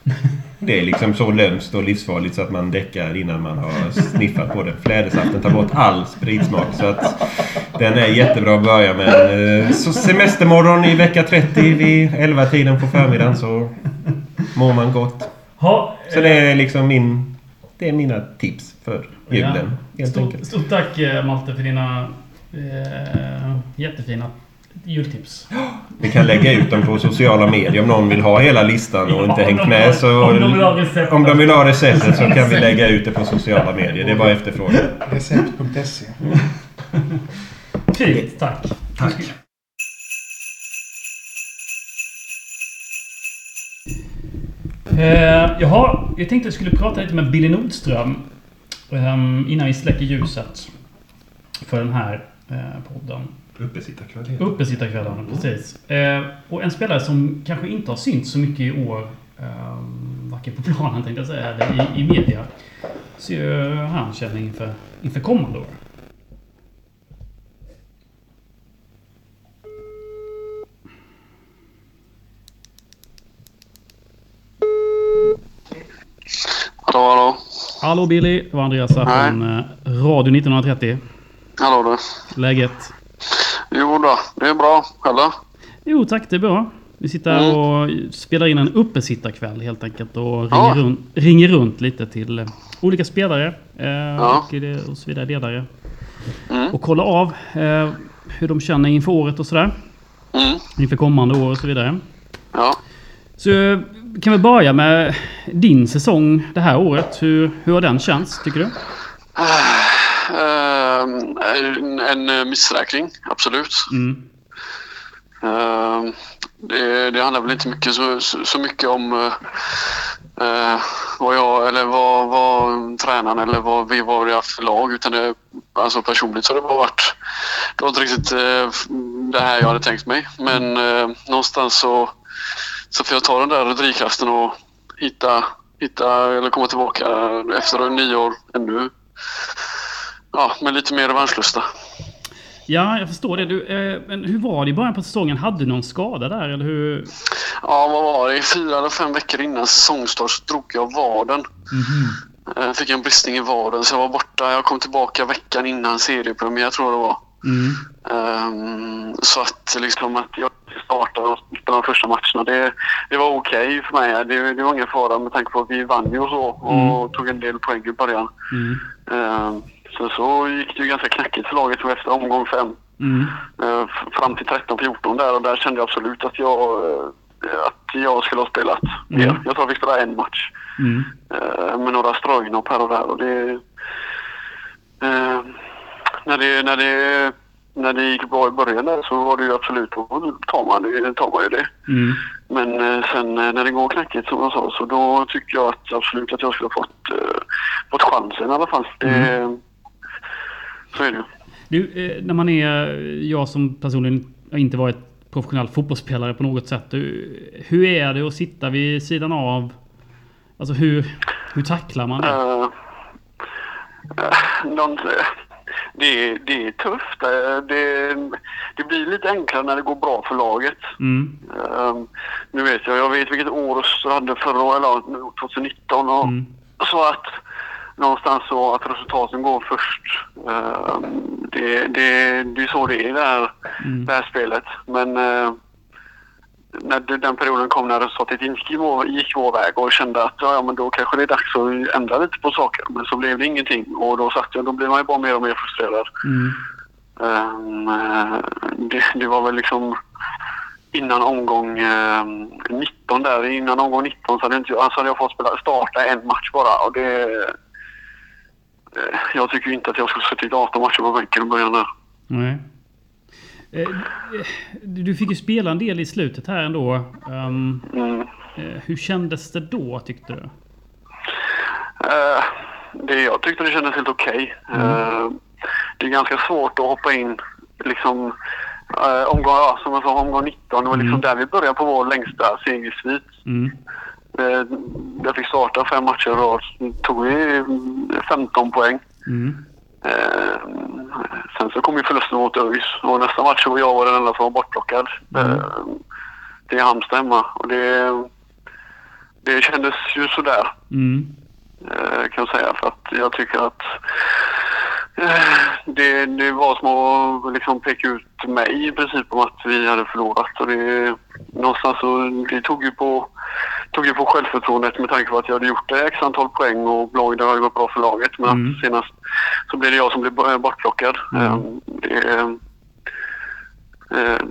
S5: Det är liksom så lömskt och livsfarligt så att man däckar innan man har sniffat på det. Flädersaften tar bort all spritsmak så att den är jättebra att börja med. Eh, Så semestermorgon i vecka 30 vid 11-tiden på förmiddagen så mår man gott.
S2: Ha, eh,
S5: Så det är liksom min... Det är mina tips för julen.
S2: Ja.
S5: Helt
S2: Stort,
S5: enkelt.
S2: stort tack eh, Malte för dina eh, jättefina jultips.
S5: Vi kan lägga ut dem på sociala medier om någon vill ha hela listan och
S2: Ja,
S5: inte
S2: om
S5: hängt
S2: de-
S5: med. Så
S2: om de vill ha receptet.
S5: Om de vill ha receptet så kan vi lägga ut det på sociala medier. Det är bara efterfrågan.
S1: Recept.se.
S2: Fint, tack. Tack. Eh, jaha, jag tänkte jag skulle prata lite med Billy Nordström ehm, innan vi släcker ljuset för den här eh, podden.
S5: Uppesittarkväll.
S2: Uppesittarkvällarna, precis. Eh, och en spelare som kanske inte har synts så mycket i år, ehm, varken på *laughs* planen tänkte jag säga, eller i, i media, så gör han känner inför, inför kommande år.
S7: Hallå, hallå.
S2: Hallå Billy, det var Andreas här
S7: Nej.
S2: från eh, Radio 1930.
S7: Hallå du.
S2: Läget?
S7: Jo då, det är bra. Själv då?
S2: Jo tack, det är bra. Vi sitter här och spelar in en uppesittarkväll helt enkelt och ringer,
S7: Mm. Ja.
S2: runt, ringer runt lite till eh, olika spelare eh,
S7: Ja.
S2: och, i det- och så vidare ledare.
S7: Mm.
S2: Och kolla av eh, hur de känner inför året och sådär.
S7: Mm.
S2: Inför kommande år och så vidare.
S7: Ja.
S2: Så eh, kan vi börja med din säsong det här året. Hur, hur har den känts tycker du?
S7: Ehm, en- en eh, missräkning, absolut.
S2: Mm.
S7: Ehm, det, det handlar väl inte mycket, så, så så mycket om eh, eh, vad jag eller vad, vad mm, tränaren eller vad vi var i haft för lag. Utan det, alltså personligt så har det bara varit... Det var inte riktigt eh, f- det här jag hade tänkt mig. Men eh, någonstans så, så får jag ta den där drivkraften och hitta, hitta eller komma tillbaka efter nio år ännu. Ja, med lite mer revanschlusta.
S2: Ja, jag förstår det. Du, eh, men hur var det i början på säsongen? Hade du någon skada där? Eller hur?
S7: Ja, vad var det? Fyra eller fem veckor innan säsongstart så drog jag vaden.
S2: Mm-hmm.
S7: Eh, Fick en bristning i vaden så jag var borta. Jag kom tillbaka veckan innan seriepremiär tror jag det var.
S2: Mm.
S7: Ehm, så att liksom att jag startade och spelade de första matcherna, det, det var okej för mig. Det, det var ingen fara med tanke på att vi vann ju och så och tog en del poäng i början.
S2: Mm.
S7: Ehm, Sen så gick det ju ganska knackigt för laget efter omgång fem.
S2: Mm.
S7: Eh, f- Fram till 13-14 där och där kände jag absolut att jag, eh, att jag skulle ha spelat mer.
S2: Mm.
S7: Jag tror vi spelade en match
S2: Mm.
S7: eh, med några strojnopp här och där. Och det, eh, när, det, när, det, när det gick bra i början där så var det ju absolut, då tar man, det- tar man ju det.
S2: Mm.
S7: Men eh, sen eh, när det går knackigt som jag sa så då tycker jag att absolut att jag skulle ha fått, eh, fått chansen i alla fall. Det, Så är det ju.
S2: Du, eh, när man är... Jag som personligen har inte varit professionell fotbollsspelare på något sätt. Du, hur är det att sitta vid sidan av? Alltså hur, hur tacklar man det?
S7: Eh, eh, någon, eh, det, det är tufft. Eh, Det, det blir lite enklare när det går bra för laget.
S2: Mm.
S7: Ehm, nu vet jag, jag vet vilket år Öster hade förra året, eller 2019. Och,
S2: Mm.
S7: Så att någonstans så att resultaten går först. Ehm, det, det, det är så det är i det här,
S2: Mm.
S7: det här spelet. Men eh, när det- den perioden kom när resultatet inte gick vår, gick vår väg och kände att ja, ja, men då kanske det är dags att ändra lite på saker. Men så blev det ingenting och då satt jag, då blev man ju bara mer och mer frustrerad.
S2: Mm.
S7: Ehm, eh, det, det var väl liksom innan omgång ehm, 19 där, innan omgång 19 så hade, inte, alltså hade jag fått spela, starta en match bara och det... eh, Jag tycker ju inte att jag skulle suttit 18 matcher på bänken i början där.
S2: Nej. Eh, Du du fick ju spela en del i slutet här ändå. Ehm,
S7: Mm.
S2: eh, hur kändes det då tyckte du?
S7: Eh, det, jag tyckte det kändes helt okej. Eh, det är ganska svårt att hoppa in liksom eh, omgång, ja, som jag sa, omgång 19. Det var liksom där vi började på vår längsta segersvit.
S2: Mm.
S7: Eh, Jag fick starta fem matcher och tog ju 15 poäng.
S2: Mm.
S7: Eh, Sen så kom ju förlusten mot ÖIS och nästa match så var jag den enda som var bortplockad. Eh, Det är Halmstad hemma och det, det kändes ju sådär
S2: Mm.
S7: eh, kan jag säga. För att jag tycker att eh, det, det var som att liksom peka ut mig i princip om att vi hade förlorat. Och det, någonstans så, det tog ju på, tog ju på självförtroendet med tanke på att jag hade gjort eh, x antal poäng och lag, det hade gått bra för laget. Men
S2: Mm.
S7: att senast så blev det jag som blev b- eh, bortplockad.
S2: Mm.
S7: Eh, Det, eh,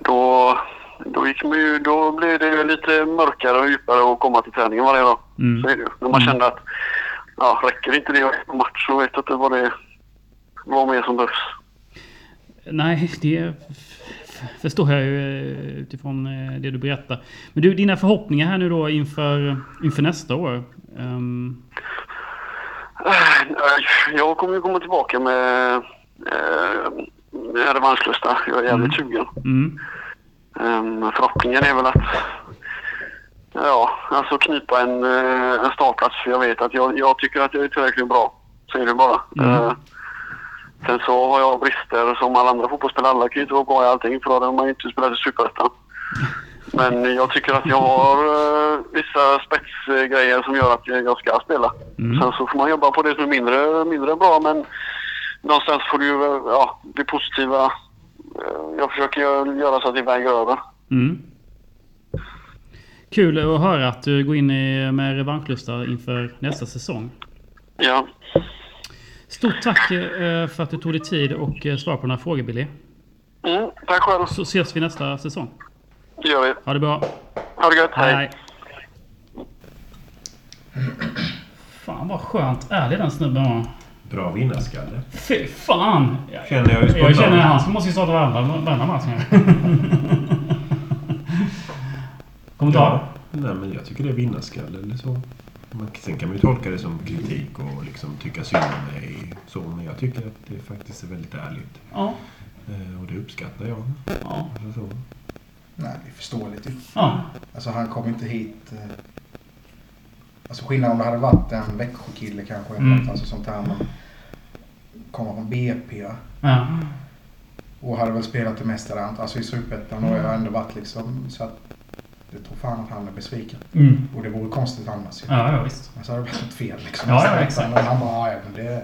S7: då, då, gick man ju, då blev det lite mörkare och djupare att komma till träningen varje dag.
S2: Mm.
S7: Så är det ju. När man kände att ja, räcker inte det en match så vet jag inte vad det är. Vad mer som behövs.
S2: Nej, det f- f- förstår jag ju eh, utifrån eh, det du berättar. Men du, dina förhoppningar här nu då inför, inför nästa år? Ehm,
S7: Eh, Jag kommer ju komma tillbaka med, eh, med revanschlusta. Jag är jävligt sugen.
S2: mm.
S7: Um, förhoppningen är väl att ja, alltså knipa en, eh, en startplats. För jag vet att jag, jag tycker att jag är tillräckligt bra. Så är det bara.
S2: Mm.
S7: Eh, sen så har jag brister som alla andra fotbollsspelare. Alla kan ju inte vara bra i allting för då hade man ju inte spelat i Superettan. Men jag tycker att jag har eh, vissa spetsgrejer som gör att jag jag ska spela.
S2: Mm.
S7: Sen så får man jobba på det som är mindre, mindre bra men någonstans får du ju, eh, ja, det positiva. eh, Jag försöker gö- göra så att det väger över.
S2: Mm. Kul att höra att du går in i, med revanschlusta inför nästa säsong.
S7: Ja,
S2: Stort tack eh, för att du tog dig tid och eh, svarade på några frågor Billy.
S7: mm, tack själv.
S2: Så ses vi nästa säsong.
S7: Det gör vi.
S2: Ha det bra.
S7: Ha det gött. Hej.
S2: Fan vad skönt ärlig den snubben var.
S5: Bra vinnarskalle.
S2: Fy fan!
S5: Känner jag ju
S2: Jag
S5: spontant.
S2: känner att han som måste ju starta varenda varenda match
S1: *laughs*
S2: nu. Kommentar?
S5: Ja. Nej, men jag tycker det är vinnarskalle eller så. Man, sen kan man ju tolka det som kritik och liksom tycka synd om mig. Så, men jag tycker att det faktiskt är väldigt ärligt.
S2: Ja.
S5: Eh, Och det uppskattar jag.
S2: Ja.
S5: Alltså så.
S1: Nej, det är förståeligt ju.
S2: ja.
S1: Alltså han kom inte hit... Eh, alltså skillnaden om det hade varit en Växjökille kanske.
S2: Mm.
S1: Eller något, alltså sånt här. Men kommer från BP. va?
S2: ja.
S1: Och hade väl spelat det mesta där. Alltså i Superettan har
S5: Mm.
S1: jag ändå varit liksom. Så att jag tror fan att han är besviken.
S2: Mm.
S1: Och det vore konstigt annars ju.
S2: ja, ja visst.
S1: Men så hade det varit något fel liksom.
S2: Ja, ja, exakt.
S1: Men han bara, ja men det...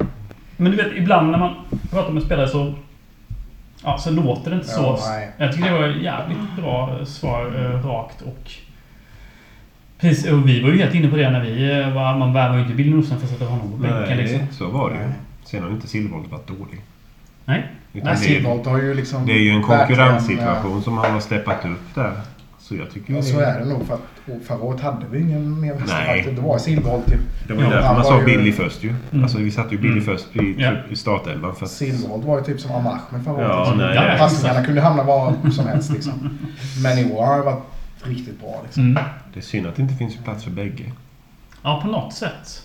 S2: Men du vet, ibland när man pratar med spelare så... Ja, så låter det inte så.
S1: Ja, nej.
S2: jag tycker det var ett jävligt bra eh, svar, eh, rakt och... Precis, och vi var ju helt inne på det när vi eh, var... Man värvar ju inte Bill Nordström för att sätta honom på bänken liksom.
S5: Nej, så var det ju. Sen har ju inte Silvold varit dålig.
S2: Nej.
S5: Utan
S1: Nej,
S5: det, är,
S1: Silvolt har ju liksom...
S5: det är ju en
S1: verkligen,
S5: konkurrenssituation som han har steppat upp där. Så jag tycker
S1: eh,
S5: ju
S1: Ja, så är det nog. För att och förra året hade vi ingen mer
S5: Nej.
S1: hästar. Det var Silverholt ju.
S5: Det var ju
S1: Ja,
S5: därför
S1: han
S5: man
S1: var
S5: sa
S1: ju-
S5: Billy först ju. Alltså vi satte ju Billy
S2: Mm.
S5: först i,
S2: Ja.
S5: i startelvan. För att,
S1: Silverholt var ju typ som Amachen förra året.
S5: Ja,
S1: liksom.
S5: nej, nej.
S1: Passningarna kunde hamna var som helst liksom. Men i år har det varit riktigt bra liksom.
S2: Mm.
S5: det är synd att det inte finns plats för bägge.
S2: Ja, på något sätt.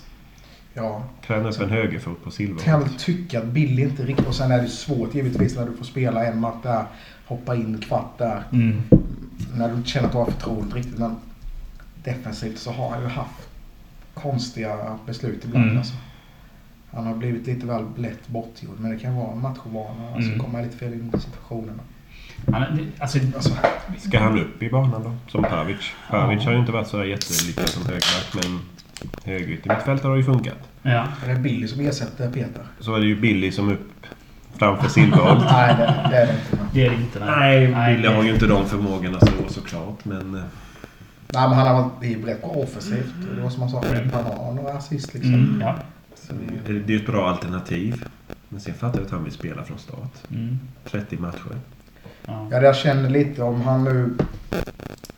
S1: Ja,
S5: Träna upp en högerfot på Silvold.
S1: kan jag tycka att Billy inte riktigt... Och sen är det svårt givetvis när du får spela en match där. Hoppa in kvart där. när du inte känner att du har förtroende riktigt. Men defensivt så har han ju haft konstiga beslut ibland.
S2: Mm.
S1: Alltså. Han har blivit lite väl lätt bortgjord. Men det kan vara matchovana. Alltså,
S2: Mm.
S1: Komma lite fel in i situationerna.
S2: Han, det, alltså,
S1: Alltså,
S5: Ska han upp i banan då? Som Pavic. Pavic har ju inte varit så jätteliten som högerback men högeryttermittfältare har ju funkat.
S2: ja.
S1: är det Billy som ersätter Peter?
S5: Så är det ju Billy som upp framför Silverholt.
S2: *laughs*
S1: Nej, det, det är det inte.
S2: Det är det
S1: Nej,
S2: inte.
S5: Nej, Billy
S2: det-
S5: har ju inte de förmågorna så, såklart men... eh,
S1: men han har varit det är rätt bra offensivt. Och Det var som han sa
S5: Mm.
S1: själv. Han har några assist liksom.
S2: Mm, ja.
S1: Så det är ju-
S5: Det det är ett bra alternativ. Men sen fattar jag att han vill spela från start.
S2: Mm.
S5: 30 matcher.
S2: Ja.
S1: Ja, det jag känner lite om han nu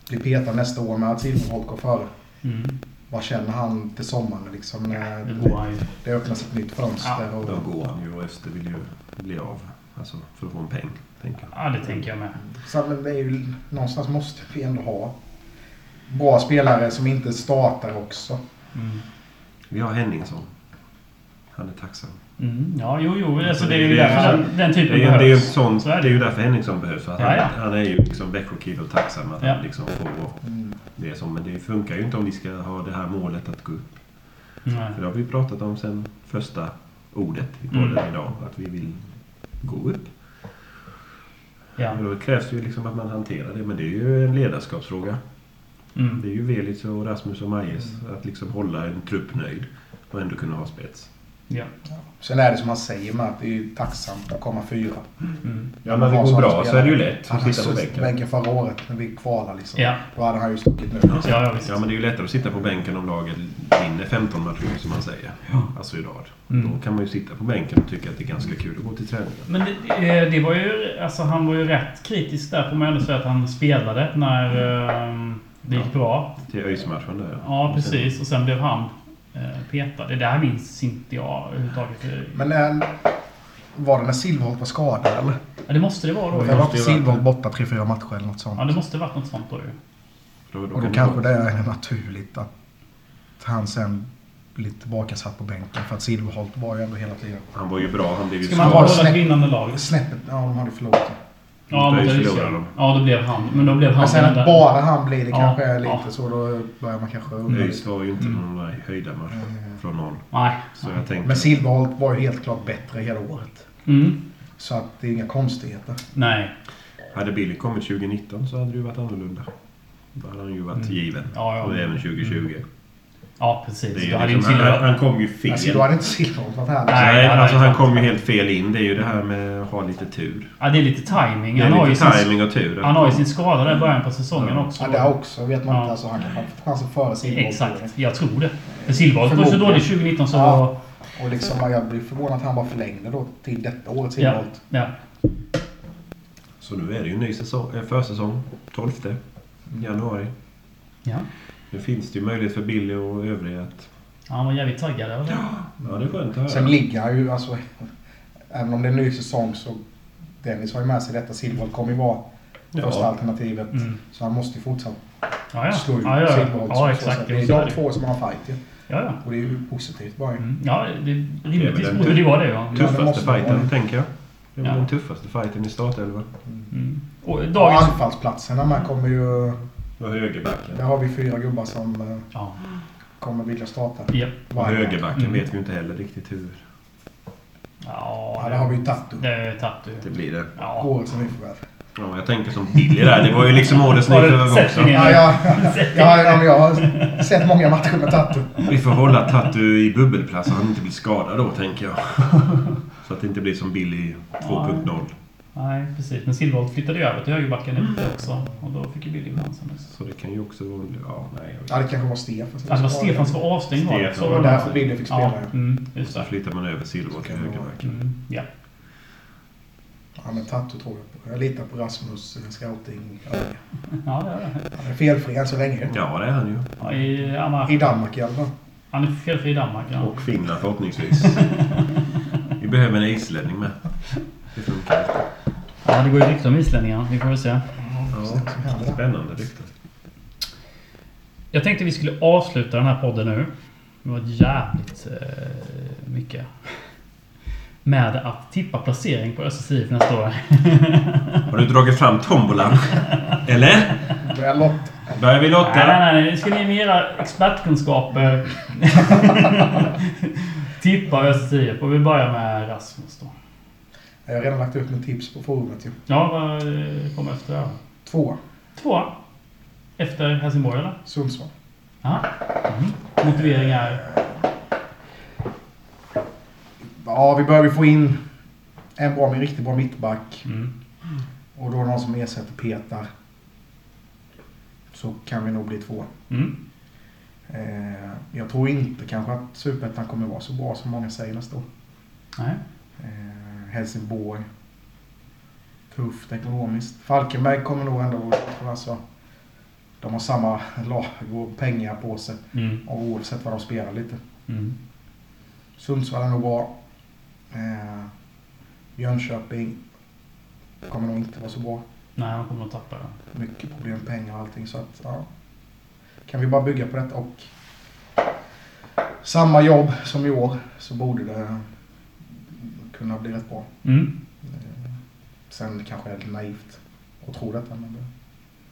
S1: blir petad nästa år med att Silverholt går före.
S2: Mm.
S1: Vad känner han till sommaren liksom? När
S2: Det går han ju.
S1: det öppnas ett nytt fönster. Och...
S5: Då går han ju och Öster vill ju bli av. Alltså för att få en peng, tänker jag.
S2: Ja, det tänker jag med.
S1: Så men det är ju, någonstans måste vi ändå ha bra spelare som inte startar också.
S2: Mm.
S5: Vi har Henningsson. Han är tacksam.
S2: Mm. Ja, jo, jo. Alltså, det är ju
S5: Det är-
S2: därför den, den
S5: Det
S2: typen
S5: är, ju- det, är ju en
S2: behövs.
S5: sån,
S2: Så
S5: det
S2: är det.
S5: är ju därför Henningsson behövs. För att
S2: Ja, ja.
S5: han, han är ju liksom Växjökille och tacksam att
S2: Ja.
S5: han liksom får det som. Men det funkar ju inte om vi ska ha det här målet att gå upp.
S2: Nej.
S5: För det har vi pratat om sen första ordet i
S2: Mm.
S5: podden idag. Att vi vill gå upp.
S2: Ja.
S5: Och då krävs det ju liksom att man hanterar det. Men det är ju en ledarskapsfråga. Det
S2: Mm.
S5: är ju Velic och Rasmus och Majes att liksom hålla en trupp nöjd och ändå kunna ha spets.
S2: ja.
S1: Sen är det som han säger med att det är ju tacksamt att komma fyra.
S2: Mm.
S5: Ja, när det går bra så är det ju lätt
S1: Han
S5: att
S1: hade
S5: sitta på
S1: suttit på
S5: bänken.
S1: bänken förra året när vi kvalade liksom.
S2: Ja.
S1: Då hade han ju stuckit nu.
S2: Ja, ja, visst.
S5: Ja, men det är ju lättare att sitta på bänken om laget vinner 15 matcher som man säger. Alltså i rad.
S2: Mm.
S5: Då kan man ju sitta på bänken och tycka att det är ganska kul att gå till träningen.
S2: Men det, eh, det var ju... Alltså, han var ju rätt kritisk där, får man ändå säga, att han spelade när eh, det gick bra.
S5: Till ÖIS-matchen där.
S2: Ja, precis. Och sen blev han eh, petad. Det där minns inte jag överhuvudtaget.
S1: Men när, var det när Silverholt var skadad eller?
S2: Ja, det måste det vara då.
S1: Det var
S5: måste
S1: inte
S5: ju varit
S1: Silverholt borta 3-4 matcher eller något sånt.
S2: Ja, det måste varit något sånt då ju.
S5: Då,
S1: Och då kanske det är naturligt att han sen blir tillbakasatt på bänken. För att Silverholt var ju ändå hela tiden
S5: Han var ju bra. Han blev ju
S2: Ska man
S1: Ska
S2: hålla
S1: vara
S2: ett
S1: snäpp.
S2: vinnande lag?
S1: snäppet... Ja, de hade förlorat.
S2: Ja,
S5: Inte
S2: mot
S5: ÖIS
S2: ÖIS,
S5: förlorar
S2: ja.
S5: de.
S2: Ja, då blev han. Men då blev han...
S1: Men sen
S2: den där-
S1: att bara han blir det
S2: Ja,
S1: kanske är lite
S2: ja.
S1: så. Då börjar man kanske undra.
S5: ÖIS
S1: lite.
S5: var ju inte någon höjdarmatch från någon.
S2: Nej.
S5: Så jag tänkte...
S1: Men Silverholt var ju helt klart bättre hela året.
S2: Mm.
S1: Så att det är inga konstigheter.
S2: Nej.
S5: Hade Billy kommit 2019 så hade det ju varit annorlunda. Då hade han ju varit given.
S2: Mm. Ja, Mm. ja.
S5: Och även 2020.
S2: Ja, precis.
S5: Det är ju
S2: Då hade ju
S5: liksom,
S2: Silva-
S5: han, han kom ju fel.
S1: Alltså då hade inte Silverholt varit här.
S2: Nej,
S5: Nej,
S2: han-
S5: alltså
S2: han-
S5: han kom ju helt fel in. Det är ju det här med att ha lite tur.
S2: Ja, det är lite timing.
S5: Det
S2: Han har,
S5: är
S2: ju
S5: lite
S2: sin,
S5: timing och tur.
S2: han har ju sin skada där i början på säsongen
S5: Ja.
S2: också.
S1: Ja, det också vet man
S2: Ja.
S1: inte. Alltså, han kanske hade chansen före Silverholt.
S2: Exakt. Jag tror det. För Silva var ju så dålig 2019 så...
S1: Ja. Och liksom, jag blir förvånad att han bara förlängde då till detta året
S2: Ja,
S1: Silverholt.
S2: ja.
S5: Så nu är det ju en ny säsong, eh, försäsong. 12 januari.
S2: ja.
S5: Nu finns det ju möjlighet för Billy och övriga att...
S2: Han var jävligt taggad över det.
S5: Ja, det är skönt att
S1: Sen
S5: höra.
S1: ligger han ju, alltså, även om det är en ny säsong så Dennis har ju med sig detta. Silverholt kommer ju vara första
S5: Ja,
S1: alternativet.
S2: Mm.
S1: Så han måste ju fortsätta
S2: Ja, ja.
S1: slå ut
S2: Ja, ja, ja.
S1: Silverholt.
S2: ja
S1: Så
S2: exakt.
S1: att
S2: Det
S1: Det är
S2: är så
S1: de
S2: det.
S1: två som har fight ju.
S2: Ja, ja.
S1: Och det är ju positivt bara ju.
S2: Mm. Ja, det,
S5: Det är
S2: rimligtvis
S5: väl typ.
S2: borde
S5: en-
S2: det vara det. Ja.
S1: Ja, det
S5: tuffaste
S1: måste
S5: fighten,
S1: vara.
S5: tänker jag. Det är
S2: Ja.
S5: väl den tuffaste fighten i startelvan.
S2: Mm. Och
S1: Och
S2: dagens...
S1: anfallsplatserna med kommer ju...
S5: Och högerbacken.
S1: Där har vi fyra gubbar som eh,
S2: Ja.
S1: kommer vilja starta.
S2: Japp.
S5: Och högerbacken
S2: Mm.
S5: vet vi ju inte heller riktigt hur
S2: Ja,
S1: Ja, där har vi ju Tattu.
S2: Det är Tatu.
S5: det blir det.
S2: Ja.
S1: Året som nyförvärv.
S5: Ja, jag tänker som Billy där. Det var ju liksom årets
S2: Var det
S5: nyförvärv också.
S2: sättningen?
S1: Ja, jag,
S2: *laughs*
S1: ja, ja, jag har sett många matcher med Tattu.
S5: Vi får hålla Tatu i bubbelplats så han inte blir skadad då, tänker jag. Så att det inte blir som Billy 2.0.
S2: Nej, precis. Men Silvold flyttade ju över till högerbacken
S5: Mm.
S2: efter också. Och då fick ju Billy chansen.
S5: Så det kan ju också vara... Ja, nej.
S1: Ja, det kanske var Stefan som
S2: Ja, det var Alltså, Stefan som var avstängd var det.
S5: Stefan.
S2: Så
S1: Det var
S2: det.
S1: därför Billy fick spela.
S2: Ja,
S1: Ja.
S2: mm, just
S5: Så
S2: det.
S5: flyttar man över Silver till högerbacken.
S2: Mm, ja.
S1: Han är Tatto tror jag på. Jag litar på Rasmus eh, scouting. Ja,
S2: Ja, det är det.
S1: Han är felfri än så länge.
S5: Ja, det är han ju.
S2: Ja, i, han,
S1: I
S2: var,
S1: Danmark i alla fall.
S2: han är felfri i Danmark. Ja.
S5: Och Finland förhoppningsvis. Vi behöver en islänning med. Det funkar inte.
S2: Ja, det går ju rykten om islänningar. Vi får väl se.
S5: Ja, spännande rykten.
S2: Jag tänkte vi skulle avsluta den här podden nu. Det var jävligt eh, mycket. Med att tippa placering på Östers IF nästa år.
S5: Har du dragit fram tombolan? Eller?
S1: Börjar lotta.
S5: Börjar vi
S2: Nej,
S5: lotta?
S2: nej, nej. Nu ska ni med era *laughs* expertkunskaper tippa Östers IF. Och vi börjar med Rasmus då.
S1: Jag har redan lagt ut mitt tips på forumet ju.
S2: Ja, vad eh, kommer efter? då?
S1: Två.
S2: Tvåa. Efter Helsingborg eller?
S1: Sundsvall.
S2: Aha. Mm. Motivering är?
S1: Ja, vi behöver få in en bra, en riktigt bra mittback.
S2: Mm.
S1: Och då någon som ersätter Petar. Så kan vi nog bli två.
S2: Mm.
S1: Eh, jag tror inte kanske att Superettan kommer vara så bra som många säger nästa år.
S2: Nej.
S1: Eh, Helsingborg. Tufft ekonomiskt. Falkenberg kommer nog ändå vara... Alltså, de har samma lag och pengar på sig.
S2: Mm.
S1: Och oavsett vad de spelar lite.
S2: Mm.
S1: Sundsvall är nog bra. Eh, Jönköping kommer nog inte vara så bra.
S2: Nej, han kommer att tappa den.
S1: Mycket problem med pengar och allting. Så att, ja. Kan vi bara bygga på detta och samma jobb som i år så borde det kunna bli rätt bra.
S2: Mm.
S1: Sen kanske jag är lite naivt och tror detta. Men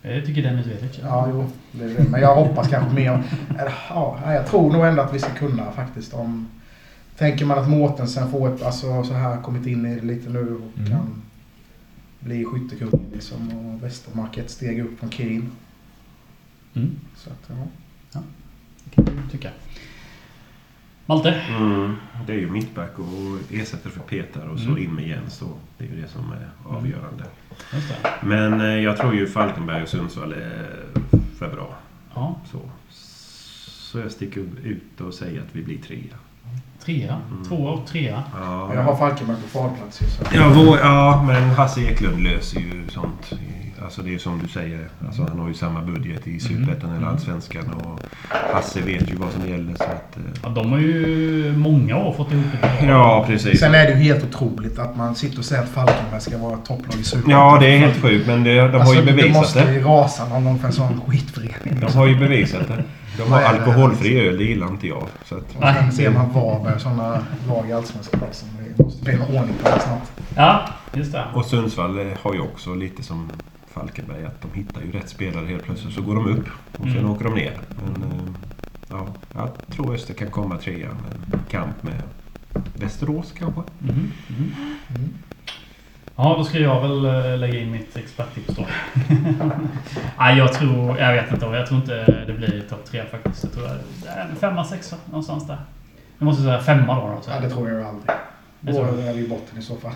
S1: det,
S2: Jag tycker Dennis Velic.
S1: ja, jo, det är det. Men jag hoppas kanske mer. eller, Ja, nej, jag tror nog ändå att vi ska kunna faktiskt. Om, tänker man att Mårtensen får ett, alltså så här kommit in i det lite nu och
S2: Mm.
S1: kan bli skyttekungen liksom. Och Westermark ett steg upp från Keen.
S2: Mm.
S1: Så att, ja.
S2: Kan du tycka. Malte?
S5: Mm, det är ju mittback och ersätter för Petar och så
S1: Mm.
S5: in med Jens då. Det är ju det som är avgörande.
S2: Just det.
S5: Men eh, jag tror ju Falkenberg och Sundsvall är för bra.
S2: Ja.
S5: Så, så jag sticker ut och säger att vi blir trea.
S2: Trea. Tvåa och trea.
S5: Ja,
S1: Jag har Falkenberg på kvalplats ju. Så.
S5: Ja, vår, ja, men Hasse Eklund löser ju sånt. Alltså det är som du säger.
S1: Mm.
S5: Alltså han har ju samma budget i Superettan eller Allsvenskan. Och Hasse vet ju vad som gäller. Så att, eh,
S2: Ja, de har ju många år fått ihop det.
S5: ja, precis.
S1: Sen är det ju helt otroligt att man sitter och säger att Falkenberg ska vara topplag i Superettan.
S5: Ja, det är helt sjukt. Men det, de har
S1: Alltså,
S5: ju
S1: det
S5: bevisat
S1: måste
S5: det.
S1: ju rasa någon gång för en sån skitförening.
S5: De har ju bevisat det. De har
S1: Nej, nej, nej.
S5: alkoholfri öl, det gillar inte jag. Så att,
S1: Och sen ser man Varberg och sådana lag i Allsvenskan. liksom. Det måste bli någon ordning på det snart.
S2: Ja, just det.
S5: och Sundsvall eh, har ju också lite som Falkenberg, att de hittar ju rätt spelare helt plötsligt. Så går de upp och sen
S2: Mm.
S5: åker de ner. Men, eh, ja, jag tror Öster kan komma trea. Men kamp med Västerås kanske?
S2: Mhm, mhm. Ja, då ska jag väl eh, lägga in mitt experttips då. *laughs* Nej, jag tror... Jag vet inte. Jag tror inte det blir topp tre faktiskt. Jag tror det är en femma, sexa någonstans där. Jag måste säga femma då. då så.
S1: Ja, det tror jag ju aldrig.
S2: Det
S1: Då
S2: tror jag.
S1: är vi i botten i så fall.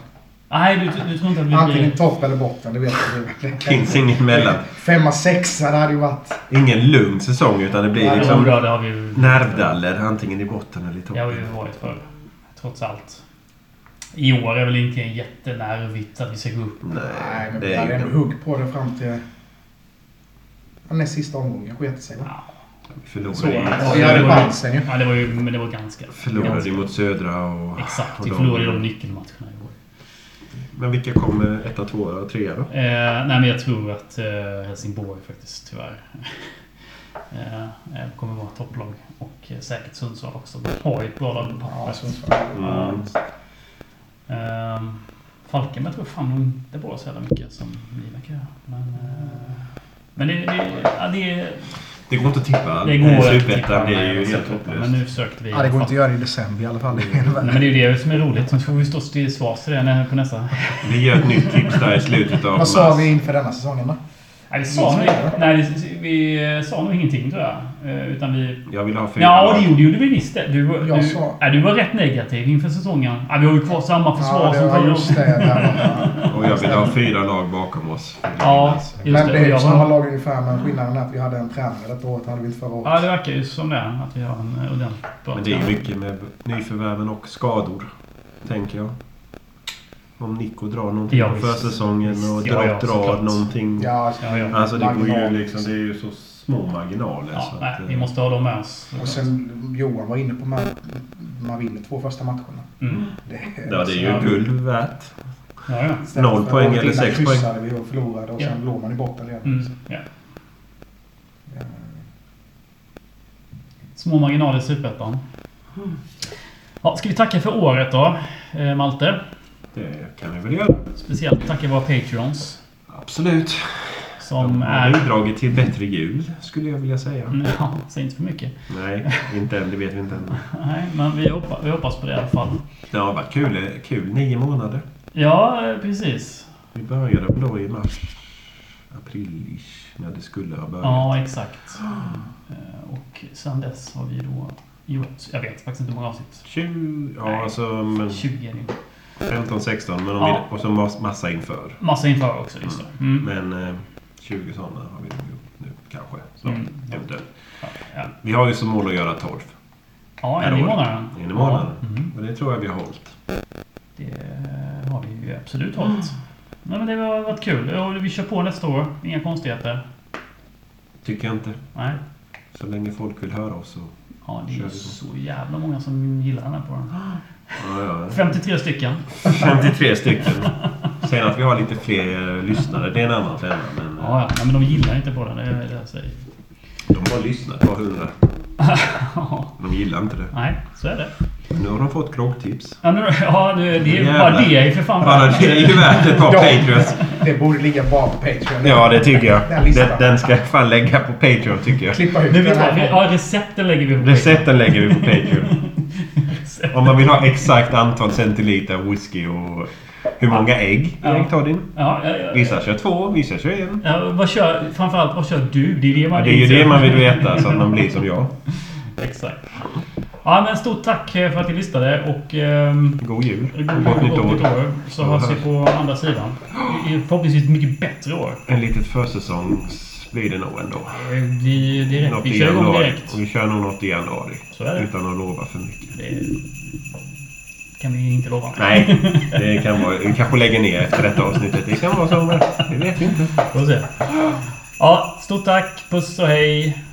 S2: Nej, du, du tror inte att vi blir...
S1: Antingen topp eller botten, det vet vi.
S5: Det finns inget mellan.
S1: Femma, sexa, det hade ju varit...
S5: Ingen lugn säsong utan det blir
S2: Ja,
S5: liksom
S2: jo, det har vi ju...
S5: nervdaller antingen i botten eller i
S2: Det har vi ju
S5: toppen.
S2: varit förr. Trots allt. I år är väl inte en jättenervigt att vi ska gå upp.
S1: Nej,
S5: Nej,
S1: men
S5: det
S1: vi hade
S5: är
S1: ändå
S5: ju...
S1: hugg på det fram till... Ja, näst sista omgången sket sig. va? Så,
S5: Förlorade
S1: vi
S5: i
S1: hade
S2: det var-
S1: chansen ju.
S2: Ja, det var ju... Men det var ganska...
S5: Förlorade
S2: ganska
S5: ju mot Södra och...
S2: Exakt.
S5: och
S2: Vi
S5: de-
S2: förlorade de nyckelmatcherna i år.
S5: Men vilka kommer etta, tvåa och trea då?
S2: Eh, nej, men jag tror att eh, Helsingborg faktiskt tyvärr *laughs* eh, eh, kommer vara topplag. Och eh, säkert Sundsvall också. De har ju ett bra lag på
S1: Ja,
S2: pappret.
S1: Sundsvall.
S5: Mm.
S2: Eh, Falkenberg tror jag fan nog inte på så jävla mycket som vi verkar göra. Men, eh, men det, det, ja, det,
S5: Det går inte att tippa.
S2: det går att tippa,
S5: Superettan det är
S2: nej,
S5: ju
S2: alltså,
S5: helt
S2: Men nu
S5: hopplöst.
S2: försökte vi.
S1: Ja, det går inte att göra det i december i alla fall. Det är det
S2: Nej,
S1: värre.
S2: men det är ju det som är roligt. Sen får vi stå till svars för det när- på nästa.
S5: Vi gör ett nytt tips där i slutet av
S1: Vad sa vi inför denna säsongen då?
S2: Nej, vi sa, nog, nej, det- vi eh, sa nog ingenting tror jag. Eh, Utan vi
S5: Jag vill ha fyra
S2: Ja, det
S5: lag.
S2: gjorde, gjorde vi visst det. Du, var-
S1: Jag
S2: du,
S1: sa-
S2: ja, du var rätt negativ inför säsongen. Ja, vi har ju kvar samma försvar
S1: Ja, det
S2: som
S1: var
S2: förra
S1: just det.
S2: året.
S1: Där.
S5: Och jag vill ha fyra lag bakom oss.
S2: Ja, just
S1: Men
S2: det.
S1: det är
S2: Jag
S1: ju
S2: har-
S1: samma lag ungefär, men skillnaden är att vi hade en tränare detta året, hade vi inte förra året.
S2: Ja, det verkar ju som det. Att vi har en eh, ordentlig bra
S5: Men det är
S2: tränare.
S5: mycket med nyförvärven och skador, tänker jag. Om Nico drar någonting
S2: Ja,
S5: på
S2: visst.
S5: försäsongen och
S2: Ja,
S5: drar,
S2: ja, såklart.
S5: drar någonting.
S1: Ja,
S2: Ja, ja.
S5: Alltså det går ju
S1: marginal.
S5: liksom, det är ju så små marginaler.
S2: Ja,
S5: så att,
S2: nej,
S5: eh,
S2: vi måste ha dem med oss.
S1: Och sen Johan var inne på man, man vinner två första matcherna.
S2: Mm.
S1: Det,
S5: Ja, det är
S2: Ja.
S5: ju guld värt.
S2: Ja, ja.
S1: istället
S5: noll
S1: för
S5: poäng
S1: året
S5: eller
S1: innan
S5: sex poäng.
S1: kryssade vi och förlorade och sen
S2: Ja.
S1: låg man i botten redan.
S2: Mm.
S1: Så,
S2: ja.
S1: eh,
S2: Små marginaler i Superettan. Ja, ska vi tacka för året då, eh, Malte?
S5: Det kan vi väl göra.
S2: Speciellt tacka våra Patreons.
S5: Absolut.
S2: Som
S5: De har
S2: är...
S5: bidragit till bättre jul, skulle jag vilja säga.
S2: Mm, *laughs* Ja, säg inte för mycket.
S5: Nej, inte än. Det vet vi inte än.
S2: Nej, men vi hoppas, vi hoppas på det i alla fall.
S5: Det har varit kul, kul nio månader.
S2: Ja, eh, precis.
S5: Vi började väl då i mars, april-ish, när det skulle ha börjat.
S2: Ja, exakt. Eh, Och sen dess har vi då gjort... Jag vet faktiskt inte hur många avsnitt.
S5: 20, ja,
S2: Nej.
S5: alltså men
S2: 20 är det ju.
S5: 15, 16 men om
S2: Ja.
S5: vi, och så mas- massa inför.
S2: Massa inför också, just det. Mm.
S5: Men eh, 20 sådana har vi nog gjort nu kanske. Snart.
S2: Mm.
S5: Eventuellt.
S2: Ja,
S5: Vi har ju som mål att göra 12
S2: ja
S5: Per
S2: en i
S5: år.
S2: månaden.
S5: en i månaden.
S2: Ja, mm.
S5: Och det tror jag vi har hållit.
S2: Det har vi ju absolut hållit. Nej, men det har varit kul. Och vi kör på nästa år. Inga konstigheter.
S5: Tycker jag inte.
S2: Nej.
S5: Så länge folk vill höra oss så...
S2: Ja, det är
S5: Kör
S2: ju
S5: vi på.
S2: så jävla många som gillar den här podden.
S5: Ja, ja.
S2: 53 stycken.
S5: 53 stycken. Sen att vi har lite fler lyssnare, det är en annan femma. Men eh,
S2: Ja, ja. Nej, men de gillar inte podden. Det är det jag säger.
S5: de har lyssnat på 100.
S2: Ja.
S5: De gillar inte det.
S2: Nej, så är det.
S5: Nu har de fått groggtips.
S2: Ja, nu, ja nu, det är ju
S5: Jävlar.
S2: bara det är ju för fan
S5: Bara
S2: värt.
S5: det är ju
S2: *laughs*
S5: värt ett par
S1: Ja.
S5: Patreons.
S1: det borde ligga bara på Patreon.
S5: Ja, det tycker jag.
S1: Den listan.
S5: Den, den ska jag fan lägga på Patreon tycker jag.
S1: Klippa ut
S2: Nu vet
S1: den
S2: jag,
S1: här.
S2: ja, recepten lägger vi på.
S5: Recepten lägger vi
S2: *laughs*
S5: på Patreon.
S2: Recept.
S5: Om man vill ha exakt antal centiliter whisky och hur många ägg Erik tar din.
S2: Ja, ja, ja.
S5: Vissa kör två, vissa kör en.
S2: Ja, vad kör, framförallt, vad kör du? Det är, det man
S5: Det är ju det man vill veta så att man blir som jag.
S2: Exakt. Ja, men stort tack eh, för att ni lyssnade och ehm,
S5: God jul
S2: god
S5: och gott nytt år.
S2: Så hörs vi på andra sidan. I- i- Förhoppningsvis ett mycket bättre år.
S5: En litet försäsongs blir det nog ändå.
S2: Eh, Vi, direkt,
S5: Något
S2: vi
S5: i
S2: kör igång
S5: januari.
S2: direkt.
S5: Och vi kör nog något i januari.
S2: Så är det.
S5: Utan att lova för mycket.
S2: Det kan vi inte lova.
S5: *laughs* Nej, det kan vara... Vi kanske lägger ner efter detta avsnittet. Det kan vara sommar. Det vet vi inte.
S2: Får se. Ja, stort tack. Puss och hej.